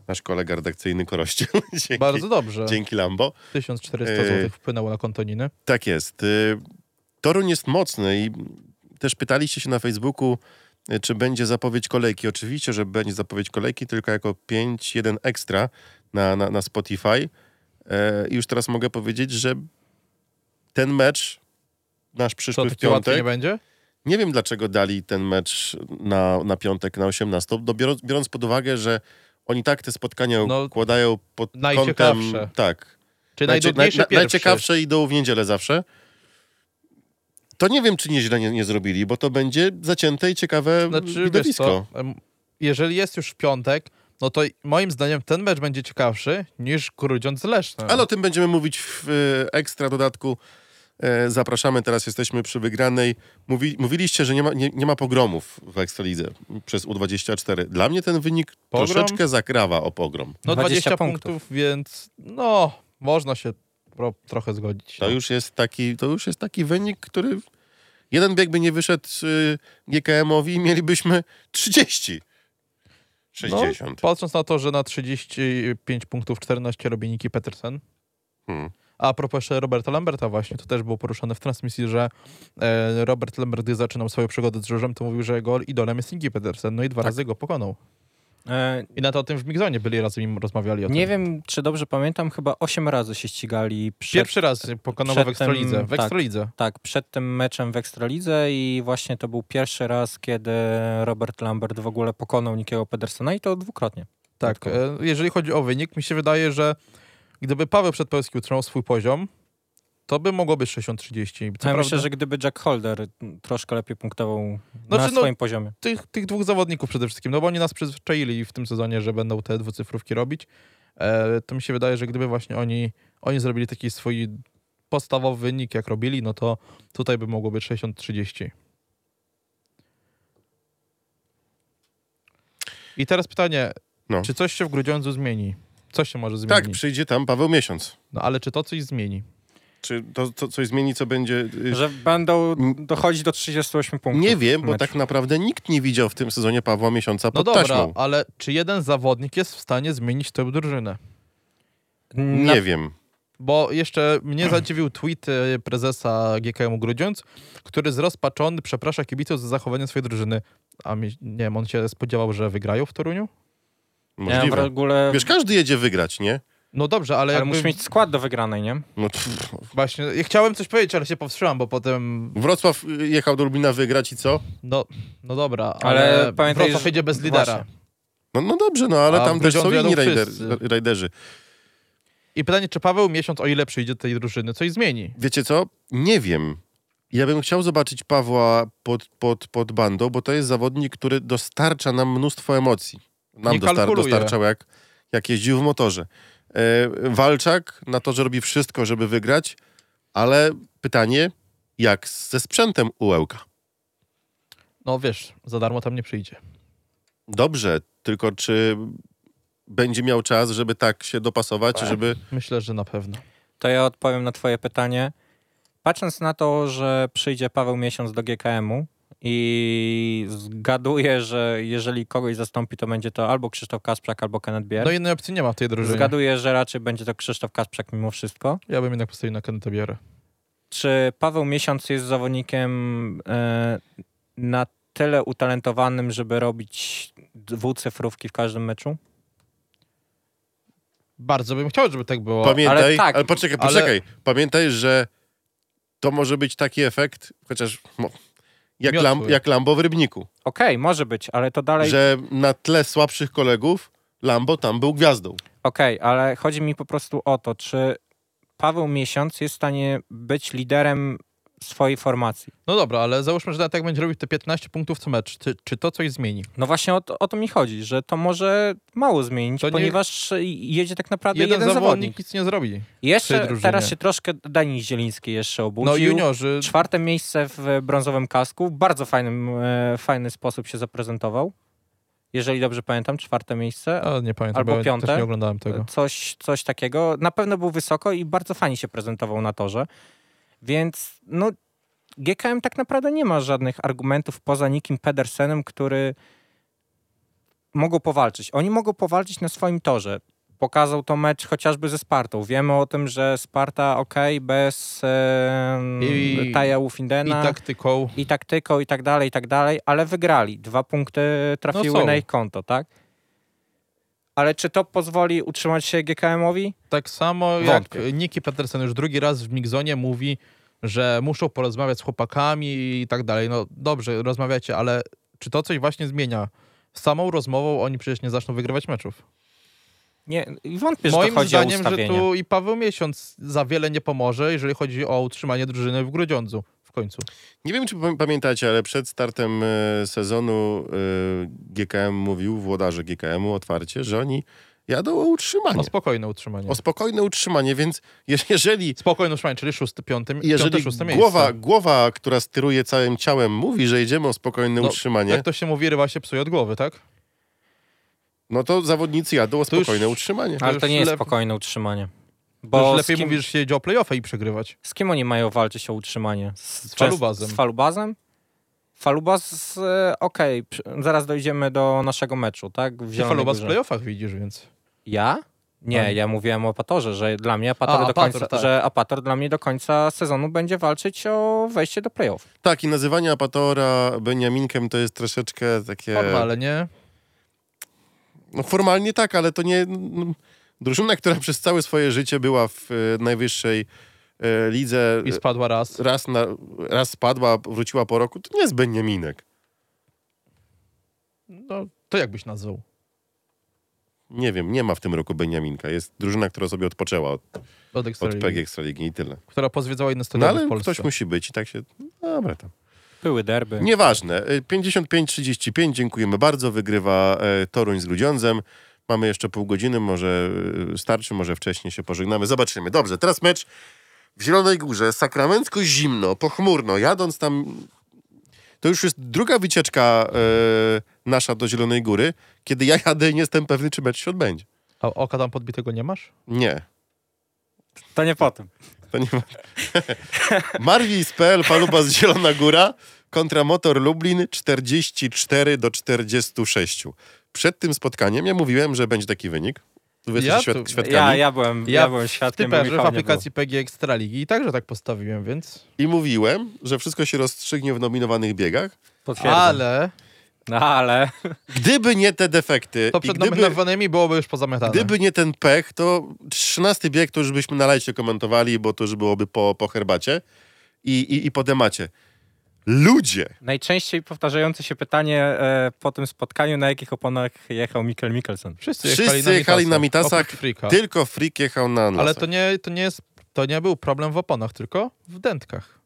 S2: nasz kolega redakcyjny Korościel. dzięki,
S4: Bardzo dobrze.
S2: dzięki Lambo.
S4: 1400
S2: Yy.
S4: zł wpłynęło na kontoniny.
S2: Tak jest. Yy, Toruń jest mocny i też pytaliście się na Facebooku, yy, czy będzie zapowiedź kolejki. Oczywiście, że będzie zapowiedź kolejki, tylko jako 5.1 ekstra na, na, na Spotify. E, I już teraz mogę powiedzieć, że ten mecz, nasz
S4: To
S2: przyszły w
S4: taki łatwy nie
S2: piątek,
S4: będzie?
S2: nie wiem dlaczego dali ten mecz na, na piątek, na 18, no, biorąc, biorąc pod uwagę, że oni tak te spotkania
S4: No,
S2: układają pod kątem...
S4: najciekawsze.
S2: Tak.
S4: Czyli
S2: Najcie-
S4: najdudniejszy
S2: naj- naj-
S4: pierwszy.
S2: Najciekawsze idą w niedzielę zawsze. To nie wiem, czy nieźle nie, nie zrobili, bo to będzie zacięte i ciekawe
S4: Znaczy, wiesz
S2: widowisko.
S4: co, em, jeżeli jest już w piątek, no to moim zdaniem ten mecz będzie ciekawszy niż Grudziądz No, Leszno.
S2: Ale o tym będziemy mówić w e, ekstra dodatku. E, Zapraszamy, teraz jesteśmy przy wygranej. Mówi, mówiliście, że nie ma, nie, nie ma pogromów w Ekstralidze przez U24. Dla mnie ten wynik
S4: Pogrom?
S2: troszeczkę zakrawa o pogrom.
S4: No 20,
S3: 20
S4: punktów.
S3: punktów.
S4: więc no, można się pro, trochę zgodzić.
S2: To już jest taki, to już jest taki wynik, który jeden bieg by nie wyszedł y, GKM-owi i mielibyśmy 30. 60.
S4: No, patrząc na to, że na 35 punktów 14 robi Niki Petersen. No.
S2: Hmm.
S4: A, a propos jeszcze Roberta Lamberta właśnie, to też było poruszone w transmisji, że e, Robert Lambert, gdy zaczynał swoją przygodę z Żużem, to mówił, że jego idolem jest Niki Petersen, no i
S3: Tak.
S4: dwa razy go pokonał.
S3: E,
S4: I na to o tym w Migzonie byli razem im rozmawiali o tym.
S3: nie wiem, czy dobrze pamiętam, chyba 8 razy się ścigali przed,
S4: Pierwszy raz pokonał
S3: przed
S4: w Ekstralidze.
S3: tym-
S4: W
S3: tak.
S4: Ekstralidze.
S3: tak, przed tym meczem w Ekstralidze i właśnie to był pierwszy raz, kiedy Robert Lambert w ogóle pokonał Nikiego Pedersena i to dwukrotnie.
S4: Tak, e, jeżeli chodzi o wynik, mi się wydaje, że gdyby Paweł Przedpełski utrzymał swój poziom, to by mogło być 60-30. Co
S3: Ja
S4: prawda,
S3: myślę, że gdyby Jack Holder troszkę lepiej punktował na
S4: Znaczy, no-
S3: swoim poziomie.
S4: tych, tych dwóch zawodników przede wszystkim, no bo oni nas przyzwyczaili w tym sezonie, że będą te dwucyfrówki robić, e, to mi się wydaje, że gdyby właśnie oni, oni zrobili taki swój podstawowy wynik, jak robili, no to tutaj by mogło być 60-30. I teraz pytanie,
S2: No.
S4: czy coś się w Grudziądzu zmieni? Co się może zmienić?
S2: Tak, No przyjdzie tam Paweł Miesiąc.
S4: No ale czy to coś zmieni?
S2: Czy to, to coś zmieni, co będzie... y,
S3: Że będą dochodzić do 38 punktów.
S2: Nie wiem, bo
S3: meczu.
S2: tak naprawdę nikt nie widział w tym sezonie Pawła Miesiąca
S4: No
S2: pod
S4: dobra,
S2: taśmą.
S4: ale czy jeden zawodnik jest w stanie zmienić tę drużynę?
S3: Na-
S2: Nie wiem.
S4: Bo jeszcze mnie zadziwił tweet e, prezesa GKM Grudziądz, który zrozpaczony przeprasza kibiców za zachowanie swojej drużyny. A mi, nie wiem, on się spodziewał, że wygrają w Toruniu?
S3: Nie wiem, w
S2: Możliwe.
S3: ogóle...
S2: Wiesz, każdy jedzie wygrać, nie?
S4: No dobrze, ale,
S3: Ale
S4: jakby...
S3: musisz mieć skład do wygranej, nie?
S2: No, pff.
S4: Właśnie, ja chciałem coś powiedzieć, ale się powstrzymam, bo potem...
S2: Wrocław y, jechał do Lubina wygrać i co?
S4: No, no dobra, ale,
S3: Ale
S4: ale
S3: pamiętaj,
S4: Wrocław
S3: że-
S4: jedzie bez lidera.
S3: Właśnie.
S2: No, no dobrze, no ale
S4: A
S2: tam
S4: w
S2: też są
S4: Grudziądzu
S2: inni
S4: jadą
S2: rajder,
S4: wszyscy.
S2: rajderzy.
S4: I pytanie, czy Paweł Miesiąc, o ile przyjdzie do tej drużyny, coś zmieni?
S2: Wiecie co? Nie wiem. Ja bym chciał zobaczyć Pawła pod, pod, pod bandą, bo to jest zawodnik, który dostarcza nam mnóstwo emocji. Nam
S4: Nie
S2: dostar,
S4: kalkuluję.
S2: dostarczał, jak, jak jeździł w motorze. E, Walczak na to, że robi wszystko, żeby wygrać, ale pytanie, jak ze sprzętem u Ełka?
S4: No wiesz, za darmo tam nie przyjdzie.
S2: Dobrze, tylko czy będzie miał czas, żeby tak się dopasować, żeby...
S4: Myślę, że na pewno.
S3: To ja odpowiem na twoje pytanie. Patrząc na to, że przyjdzie Paweł Miesiąc do GKM-u i zgaduję, że jeżeli kogoś zastąpi, to będzie to albo Krzysztof Kasprzak, albo Kenneth Bier.
S4: No jednej opcji nie ma w tej drużynie.
S3: Zgaduję, że raczej będzie to Krzysztof Kasprzak mimo wszystko.
S4: Ja bym jednak postawił na Kenneta Bierę.
S3: Czy Paweł Miesiąc jest zawodnikiem e, na tyle utalentowanym, żeby robić dwucyfrówki w każdym meczu?
S4: Bardzo bym chciał, żeby tak było.
S2: Pamiętaj, ale,
S3: ale tak,
S2: poczekaj,
S4: ale-
S2: poczekaj. Pamiętaj, że to może być taki efekt, chociaż mo, jak,
S4: Miotły.
S2: lam, jak Lambo w Rybniku,
S3: Okej, może być, ale to dalej...
S2: że na tle słabszych kolegów Lambo tam był gwiazdą.
S3: Okej, ale chodzi mi po prostu o to, czy Paweł Miesiąc jest w stanie być liderem swojej formacji.
S4: No dobra, ale załóżmy, że nawet jak będzie robił te 15 punktów co mecz, czy, czy to coś zmieni?
S3: No właśnie o to, o to mi chodzi, że to może mało zmienić,
S4: To nie-
S3: ponieważ jedzie tak naprawdę
S4: Jeden,
S3: jeden,
S4: zawodnik,
S3: zawodnik.
S4: nic nie zrobi.
S3: Jeszcze
S4: tej drużynie.
S3: teraz się troszkę Dani Zieliński jeszcze obudził.
S4: No juniorzy,
S3: Czwarte miejsce w brązowym kasku. W bardzo fajnym, e, fajny sposób się zaprezentował. Jeżeli dobrze pamiętam, czwarte miejsce.
S4: a, nie pamiętam,
S3: albo
S4: bo ja
S3: piąte.
S4: też nie oglądałem Tak, tego.
S3: Coś, coś takiego. Na pewno był wysoko i bardzo fajnie się prezentował na torze. Więc no, GKM tak naprawdę nie ma żadnych argumentów poza Nikim Pedersenem, który mogą powalczyć. Oni mogą powalczyć na swoim torze. Pokazał to mecz chociażby ze Spartą. Wiemy o tym, że Sparta ok, bez e,
S4: I-
S3: Taja
S4: I tak
S3: Ufindena
S4: taktyką,
S3: i taktyką i tak dalej, i tak dalej, ale wygrali. Dwa punkty trafiły
S4: No są.
S3: na ich konto, tak? Ale czy to pozwoli utrzymać się GKM-owi?
S4: tak samo
S3: Wątpię.
S4: jak Niki Petersen już drugi raz w Migzonie mówi, że muszą porozmawiać z chłopakami i tak dalej. No dobrze, rozmawiacie, ale czy to coś właśnie zmienia? Z Samą rozmową oni przecież nie zaczną wygrywać meczów.
S3: Nie, wątpię, że
S4: Moim
S3: to chodzi o
S4: zdaniem, że
S3: ustawienie.
S4: tu i Paweł Miesiąc za wiele nie pomoże, jeżeli chodzi o utrzymanie drużyny w Grudziądzu w końcu.
S2: Nie wiem, czy pamię- pamiętacie, ale przed startem e, sezonu e, GKM mówił, włodarze GKM-u otwarcie, że oni jadą o utrzymanie.
S4: O spokojne utrzymanie.
S2: O spokojne utrzymanie, więc je- jeżeli
S4: Spokojne utrzymanie, czyli szósty, piąty, piąte,
S2: jeżeli
S4: szóste miejsce. No,
S2: głowa, głowa, która steruje całym ciałem, mówi, że jedziemy o spokojne
S4: No,
S2: utrzymanie,
S4: Jak to się mówi, rywa się psuje od głowy, tak?
S2: no to zawodnicy jadą o
S4: To już-
S2: spokojne utrzymanie.
S3: Ale
S4: już
S3: to nie jest
S4: lep-
S3: spokojne utrzymanie. Bo
S4: Bo
S3: z
S4: lepiej
S3: kim,
S4: mówisz, że się jedzie o playoffy i przegrywać.
S3: z kim oni mają walczyć o utrzymanie? Z, częst-
S4: Falubazem.
S3: Z Falubazem? Falubaz, e, okej, przy- zaraz dojdziemy do naszego meczu, tak? W
S4: Ty
S3: Zielonej
S4: faluba w
S3: Górze.
S4: playoffach widzisz, więc...
S3: Ja? Nie,
S4: A.
S3: ja mówiłem o Apatorze, że dla mnie Apator,
S4: A,
S3: do
S4: Apator,
S3: końca,
S4: tak.
S3: że Apator dla mnie do końca sezonu będzie walczyć o wejście do playoff.
S2: Tak, i nazywanie Apatora Beniaminkiem to jest troszeczkę takie...
S4: Forma, ale nie.
S2: No formalnie tak, ale to nie... No, drużyna, która przez całe swoje życie była w e, najwyższej e, lidze,
S4: I spadła raz.
S2: raz, na, raz spadła, wróciła po roku, to nie jest Beniaminek.
S4: No, to jakbyś nazwał?
S2: Nie wiem, nie ma w tym roku Beniaminka. Jest drużyna, która sobie odpoczęła od, od
S4: Od
S2: PG
S4: Ekstraligi.
S2: Ekstraligi i tyle.
S4: Która pozwiedzała inne
S2: No
S4: stadiony
S2: ale
S4: w Polsce.
S2: ktoś musi być i tak się... Dobra, tam.
S3: Były derby.
S2: Nieważne. Y, 55-35, dziękujemy bardzo. Wygrywa e, Toruń z Grudziądzem. Mamy jeszcze pół godziny, może y, starczy, może wcześniej się pożegnamy. Zobaczymy. Dobrze, teraz mecz w Zielonej Górze. Sakramencko zimno, pochmurno. Jadąc tam... To już jest druga wycieczka e, nasza do Zielonej Góry, kiedy ja jadę i nie jestem pewny, czy mecz się odbędzie.
S4: A oka tam podbitego nie masz?
S2: Nie.
S3: To nie potem.
S2: To nie ma. Marwis PL, paluba z Zielona Góra kontra Motor Lublin 44 do 46. Przed tym spotkaniem ja mówiłem, że będzie taki wynik. Wy
S4: Ja
S2: jesteście
S4: tu-
S2: świad- świadkami.
S3: Ja, ja, byłem, ja, byłem świadkiem, bo
S4: w typerze w
S3: Michała nie
S4: aplikacji PG Ekstraligi i także tak postawiłem, więc...
S2: I mówiłem, że wszystko się rozstrzygnie w nominowanych biegach.
S3: było. Potwierdzam. Ale...
S4: Ale
S3: No, ale...
S2: Gdyby nie te defekty,
S4: to
S2: i
S4: przed
S2: gdyby,
S4: nominowanymi byłoby już pozamiatane.
S2: gdyby nie ten pech, to 13 bieg to już byśmy na lajcie komentowali, bo to już byłoby po, po herbacie i, i, i po temacie. Ludzie!
S3: Najczęściej powtarzające się pytanie e, po tym spotkaniu, na jakich oponach jechał Mikkel Mikkelsen.
S4: Wszyscy
S2: Wszyscy
S4: jechali,
S2: jechali na mitasach,
S4: oprócz Freaka.
S2: Tylko freak jechał na anlasach.
S4: Tak. Ale to nie, to, nie jest, to nie był problem w oponach, tylko w dętkach.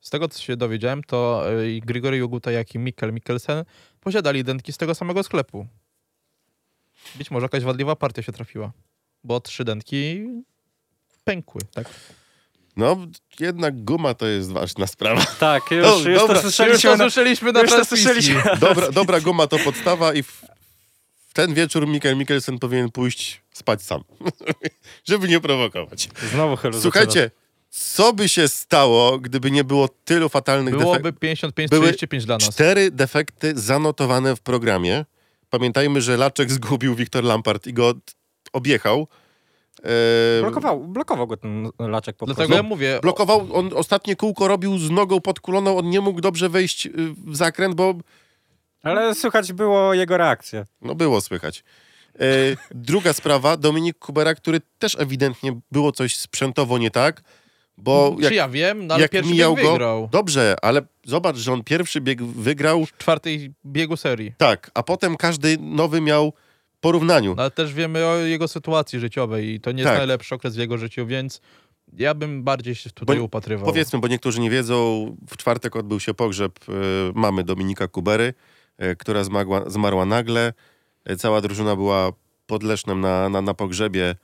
S4: Z tego, co się dowiedziałem, to y, Grigory Joguta, jak i Mikkel Mikkelsen posiadali dętki z tego samego sklepu. Być może jakaś wadliwa partia się trafiła, bo trzy dętki pękły. Tak?
S2: No, jednak guma to jest ważna sprawa.
S3: Tak, już,
S2: No,
S3: już
S2: dobra,
S3: to
S2: już
S4: Już
S3: słyszeliśmy.
S4: to
S3: na-
S4: słyszeliśmy na
S3: już to
S4: transmisji.
S3: słyszeliśmy.
S2: Dobra, dobra guma to podstawa i w, w ten wieczór Mikael Mikkelsen powinien pójść spać sam, żeby nie prowokować.
S3: Znowu chylu
S2: Słuchajcie, co by się stało, gdyby nie było tylu fatalnych
S4: Byłoby
S2: defektów?
S4: 55-35 dla nas.
S2: Cztery defekty zanotowane w programie. Pamiętajmy, że Laczek zgubił Wiktor Lampard i go t- objechał. Eee,
S3: Blokował, blokował go ten laczek po
S4: Dlatego ja
S3: prostu.
S4: mówię,
S2: Blokował, on ostatnie kółko robił z nogą podkuloną, on nie mógł dobrze wejść y, w zakręt, bo
S3: Ale słychać było jego reakcję.
S2: No było słychać. E, druga sprawa, Dominik Kubera, który też ewidentnie było coś sprzętowo nie tak, bo
S4: czy
S2: jak,
S4: ja wiem, no ale
S2: jak
S4: pierwszy
S2: mijał
S4: bieg
S2: go...
S4: wygrał.
S2: Dobrze, ale zobacz, że on pierwszy bieg wygrał,
S4: W czwartej biegu serii.
S2: tak, a potem każdy nowy miał porównaniu.
S4: No, ale też wiemy o jego sytuacji życiowej i to nie jest
S2: Tak.
S4: najlepszy okres w jego życiu, więc ja bym bardziej się tutaj
S2: Bo-
S4: upatrywał.
S2: Powiedzmy, bo niektórzy nie wiedzą, w czwartek odbył się pogrzeb e, mamy Dominika Kubery, e, która zmagła, zmarła nagle. E, Cała drużyna była pod Lesznem na, na, na pogrzebie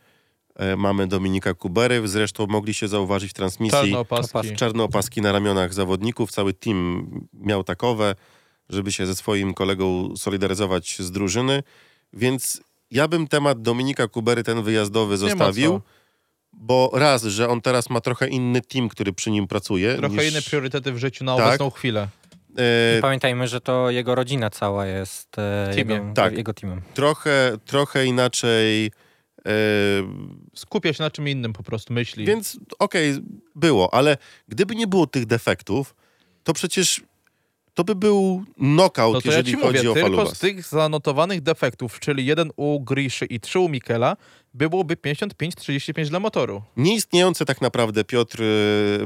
S2: e, mamy Dominika Kubery. Zresztą mogli się zauważyć w transmisji
S4: Czarne opaski.
S3: opaski.
S2: czarne opaski na ramionach zawodników. Cały team miał takowe, żeby się ze swoim kolegą solidaryzować z drużyny. Więc ja bym temat Dominika Kubery, ten wyjazdowy,
S4: ma
S2: zostawił.
S4: co.
S2: Bo raz, że on teraz ma trochę inny team, który przy nim pracuje.
S4: Trochę
S2: niż,
S4: inne priorytety w życiu na
S2: Tak.
S4: obecną chwilę.
S2: e,
S3: Pamiętajmy, że to jego rodzina cała jest e,
S4: Teamie.
S3: jego,
S2: Tak.
S3: jego teamem.
S2: trochę, trochę inaczej. E,
S4: Skupia się na czym innym po prostu, myśli.
S2: więc okej, było, ale gdyby nie było tych defektów, to przecież to by był knockout,
S4: no to ja
S2: jeżeli
S4: ci
S2: chodzi
S4: mówię,
S2: o
S4: tylko
S2: Falubas.
S4: z tych zanotowanych defektów, czyli jeden u Griszy i trzy u Mikela, byłoby 55-35 dla motoru.
S2: Nieistniejący tak naprawdę Piotr y,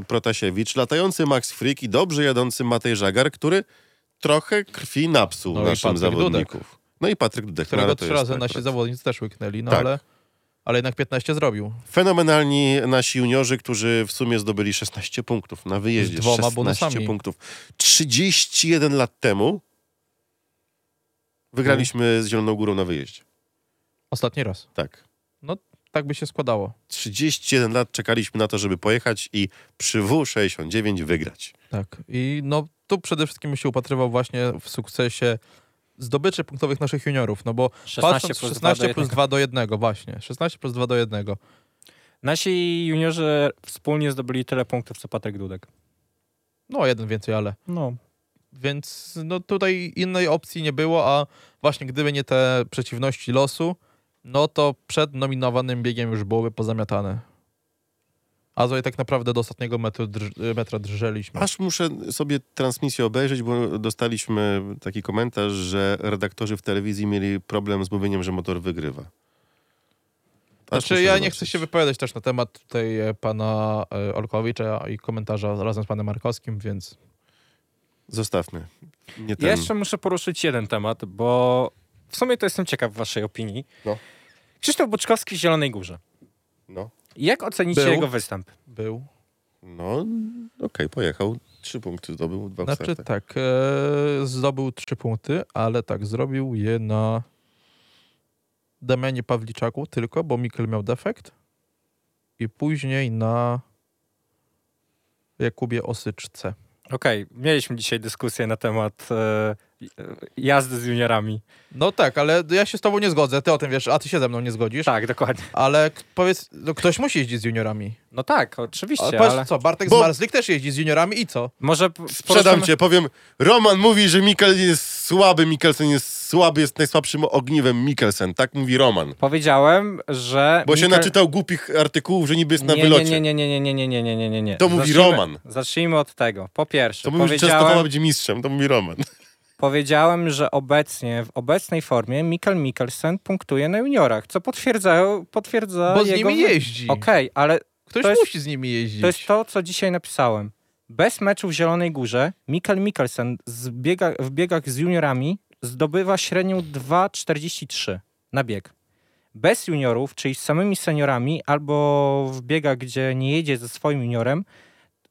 S2: Protasiewicz, latający Max Frick i dobrze jadący Matej Żagar, który trochę krwi napsuł
S4: No i
S2: naszym
S4: Patryk
S2: zawodników. No i Patryk Dudek. no
S4: Którego
S2: ale to
S4: trzy
S2: jest
S4: razy
S2: tak,
S4: nasi
S2: tak.
S4: zawodnicy też łyknęli, no
S2: Tak.
S4: ale, ale jednak 15 zrobił.
S2: Fenomenalni nasi juniorzy, którzy w sumie zdobyli 16 punktów na wyjeździe.
S4: Z dwoma
S2: 16
S4: bonusami.
S2: punktów. 31 lat temu wygraliśmy z Zieloną Górą na wyjeździe.
S4: Ostatni raz.
S2: Tak.
S4: Tak by się składało.
S2: 31 lat czekaliśmy na to, żeby pojechać i przy W69 wygrać.
S4: Tak. I no tu przede wszystkim się upatrywał właśnie w sukcesie zdobyczy punktowych naszych juniorów, no bo 16 patrząc plus 16 plus 2 do 1, właśnie. 16 plus 2 do 1.
S3: Nasi juniorzy wspólnie zdobyli tyle punktów, co Patryk Dudek.
S4: No, jeden więcej, ale.
S3: No.
S4: Więc no tutaj innej opcji nie było, a właśnie gdyby nie te przeciwności losu, no to przed nominowanym biegiem już byłoby pozamiatane. A tutaj tak naprawdę do ostatniego metru drż- metra drżeliśmy.
S2: Aż muszę sobie transmisję obejrzeć, bo dostaliśmy taki komentarz, że redaktorzy w telewizji mieli problem z mówieniem, że motor wygrywa. Aż
S4: Znaczy,
S2: muszę
S4: ja nie
S2: zobaczyć.
S4: chcę się wypowiadać też na temat tutaj e, pana e, Olkowicza i komentarza razem z panem Markowskim, więc
S2: Zostawmy. Nie ten.
S3: Ja jeszcze muszę poruszyć jeden temat, bo w sumie to jestem ciekaw waszej opinii.
S2: No.
S3: Krzysztof Buczkowski w Zielonej Górze.
S2: No,
S3: Jak ocenicie
S4: Był.
S3: jego występ?
S4: był.
S2: no okej, pojechał. Trzy punkty zdobył, dwa
S4: Znaczy
S2: znaczy,
S4: tak, e, zdobył trzy punkty, ale tak, zrobił je na Damianie Pawliczaku tylko, bo Mikkel miał defekt i później na Jakubie Osyczce.
S3: Okej, mieliśmy dzisiaj dyskusję na temat e, jazdy z juniorami.
S4: No tak, ale ja się z tobą nie zgodzę, ty o tym wiesz, a ty się ze mną nie zgodzisz.
S3: Tak, dokładnie.
S4: Ale k- powiedz, no ktoś musi jeździć z juniorami.
S3: No tak,
S4: A
S3: oczywiście,
S4: powiedz
S3: ale
S4: co, Bartek
S2: Bo-
S4: z Marslik też jeździ z juniorami i co?
S3: może p-
S2: Sprzedam
S3: poruszymy-
S2: cię, powiem, Roman mówi, że Mikkel jest słaby, Mikkelsen jest słaby, jest najsłabszym ogniwem Mikkelsen, tak mówi Roman.
S3: Powiedziałem, że...
S2: Bo się
S3: Mikel-
S2: naczytał głupich artykułów, że niby jest na
S3: nie,
S2: wylocie.
S3: Nie, nie, nie, nie, nie, nie, nie, nie, nie, nie, nie.
S2: To mówi
S3: Zacznijmy-
S2: Roman.
S3: Zacznijmy od tego. Po
S2: To
S3: pierwsze,
S2: mówi, że Częstochowa
S3: powiedziałem,
S2: będzie mistrzem, to mówi Roman.
S3: powiedziałem, że obecnie, w obecnej formie Mikkel Mikkelsen punktuje na juniorach, co potwierdza, potwierdza
S4: Bo z
S3: jego...
S4: nimi jeździ.
S3: Okej, ale
S4: Ktoś
S3: To jest-
S4: musi z nimi jeździć.
S3: to jest to, co dzisiaj napisałem. Bez meczu w Zielonej Górze Mikkel Mikkelsen z biega, w biegach z juniorami zdobywa średnią 2,43 na bieg. Bez juniorów, czyli z samymi seniorami albo w biegach, gdzie nie jedzie ze swoim juniorem,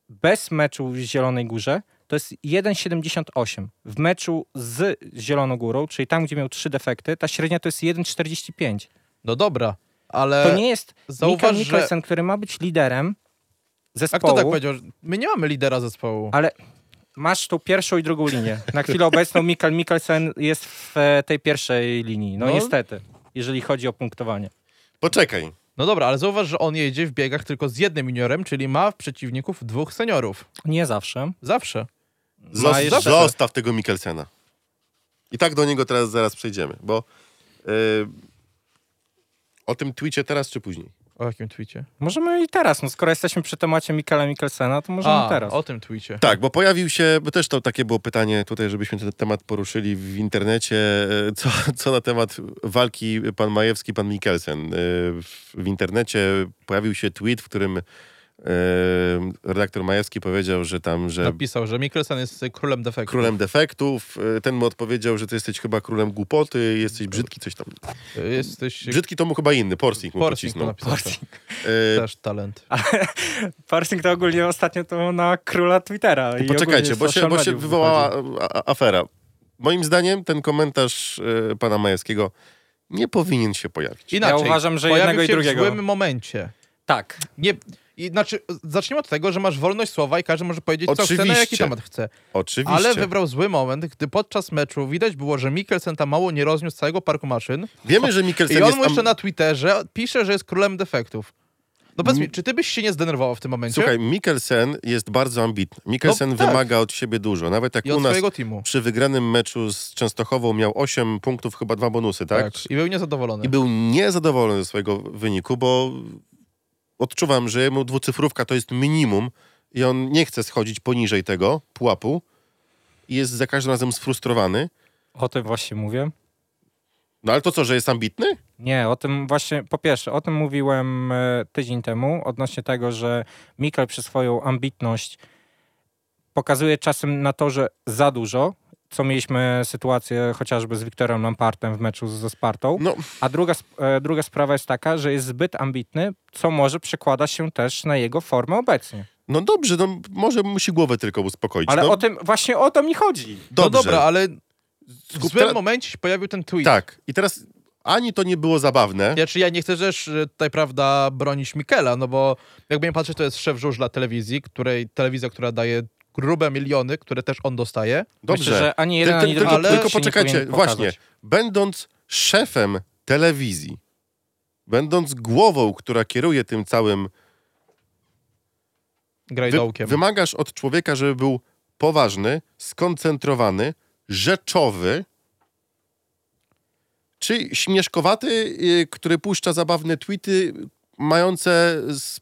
S3: bez meczu w Zielonej Górze to jest 1,78. W meczu z Zieloną Górą, czyli tam, gdzie miał trzy defekty, ta średnia to jest 1,45.
S4: No dobra, ale...
S3: To nie jest
S4: E, zauważ,
S3: Mikael
S4: że-
S3: Mikkelsen, który ma być liderem
S4: A
S3: zespołu,
S4: kto tak powiedział? że- My nie mamy lidera zespołu.
S3: ale masz tu pierwszą i drugą linię. Na chwilę obecną Mikael Mikkelsen jest w e, tej pierwszej linii. No,
S4: No.
S3: niestety, jeżeli chodzi o punktowanie.
S2: Poczekaj,
S4: No dobra, ale zauważ, że on jedzie w biegach tylko z jednym juniorem, czyli ma w przeciwników dwóch seniorów.
S3: Nie zawsze.
S4: Zawsze.
S2: zos-
S3: Ma jeszcze-
S2: zostaw tego Mikkelsena. I tak do niego teraz zaraz przejdziemy, bo yy, o tym twecie teraz czy później?
S4: O jakim twicie?
S3: Możemy i teraz, no skoro jesteśmy przy temacie Mikaela Mikkelsena, to możemy
S4: A,
S3: teraz.
S4: o tym twicie.
S2: Tak, bo pojawił się, bo też to takie było pytanie tutaj, żebyśmy ten temat poruszyli w internecie, e, co, co na temat walki pan Majewski, pan Mikkelsen. E, W, w internecie pojawił się tweet, w którym e, redaktor Majewski powiedział, że tam, że
S4: Napisał, że Mikkelsen jest y, królem defektu.
S2: królem defektów, e, ten mu odpowiedział, że ty jesteś chyba królem głupoty, jesteś brzydki, coś tam.
S4: Y, Jesteś...
S2: Brzydki to mu chyba inny, Porsing mu
S4: Porsing mu
S2: pocisnął.
S4: napisał.
S2: E,
S4: Też talent.
S3: Parsing to ogólnie ostatnio to na króla Twittera. i ogólnie
S2: Poczekajcie, bo się,
S3: social
S2: bo się
S3: mediów
S2: wywołała
S3: wychodzi.
S2: a- a- afera. Moim zdaniem ten komentarz e, pana Majewskiego nie powinien się pojawić.
S4: Inaczej.
S3: Ja uważam, że
S4: Pojawił
S3: jednego i
S4: się
S3: drugiego.
S4: w złym momencie.
S3: Tak.
S4: Nie, i, znaczy, zacznijmy od tego, że masz wolność słowa i każdy może powiedzieć, co chce, na jaki
S2: Oczywiście.
S4: temat chce.
S2: Oczywiście.
S4: Ale wybrał zły moment, gdy podczas meczu widać było, że Mikkelsen tam mało nie rozniósł całego parku maszyn
S2: Wiemy, że Mikkelsen
S4: i on
S2: jest...
S4: mu jeszcze
S2: Am...
S4: na Twitterze pisze, że jest królem defektów. No powiedz mi, czy ty byś się nie zdenerwował w tym momencie?
S2: Słuchaj, Mikkelsen jest bardzo ambitny. Mikkelsen
S4: No tak.
S2: wymaga od siebie dużo. Nawet jak
S4: I
S2: u
S4: od
S2: nas
S4: swojego teamu.
S2: przy wygranym meczu z Częstochową miał 8 punktów, chyba dwa bonusy, tak?
S4: Tak. I był niezadowolony.
S2: I był niezadowolony ze swojego wyniku, bo odczuwam, że jemu dwucyfrówka to jest minimum i on nie chce schodzić poniżej tego pułapu i jest za każdym razem sfrustrowany.
S3: O tym właśnie mówię.
S2: No ale to co, że jest ambitny?
S3: Nie, o tym właśnie, po pierwsze, o tym mówiłem e, tydzień temu, odnośnie tego, że Mikkel przez swoją ambitność pokazuje czasem na to, że za dużo, co mieliśmy sytuację chociażby z Wiktorem Lampartem w meczu ze Spartą,
S2: No,
S3: a druga, sp- e, druga sprawa jest taka, że jest zbyt ambitny, co może przekłada się też na jego formę obecnie.
S2: no dobrze, no, może musi głowę tylko uspokoić.
S3: Ale
S2: no,
S3: o tym, właśnie o to mi chodzi.
S4: No
S2: dobrze.
S4: dobra, ale w
S2: Skup-
S4: złym
S2: teraz-
S4: momencie się pojawił ten tweet.
S2: Tak, i teraz ani to nie było zabawne,
S4: Ja, czy ja nie chcę też y, tutaj, prawda, bronić Mikela, no bo jakby nie patrzeć, to jest szef żużla telewizji, której telewizja, która daje grube miliony, które też on dostaje.
S2: dobrze.
S3: Myślę, że ani jeden,
S2: Ty- ty-
S3: ani drugi
S2: tylko,
S4: ale
S2: tylko
S3: się nie
S2: poczekajcie,
S3: powinien
S2: właśnie.
S3: pokazać.
S2: Będąc szefem telewizji, będąc głową, która kieruje tym całym Wy-
S4: Grajdołkiem.
S2: Wymagasz od człowieka, żeby był poważny, skoncentrowany, rzeczowy, czy śmieszkowaty, y, który puszcza zabawne tweety mające z,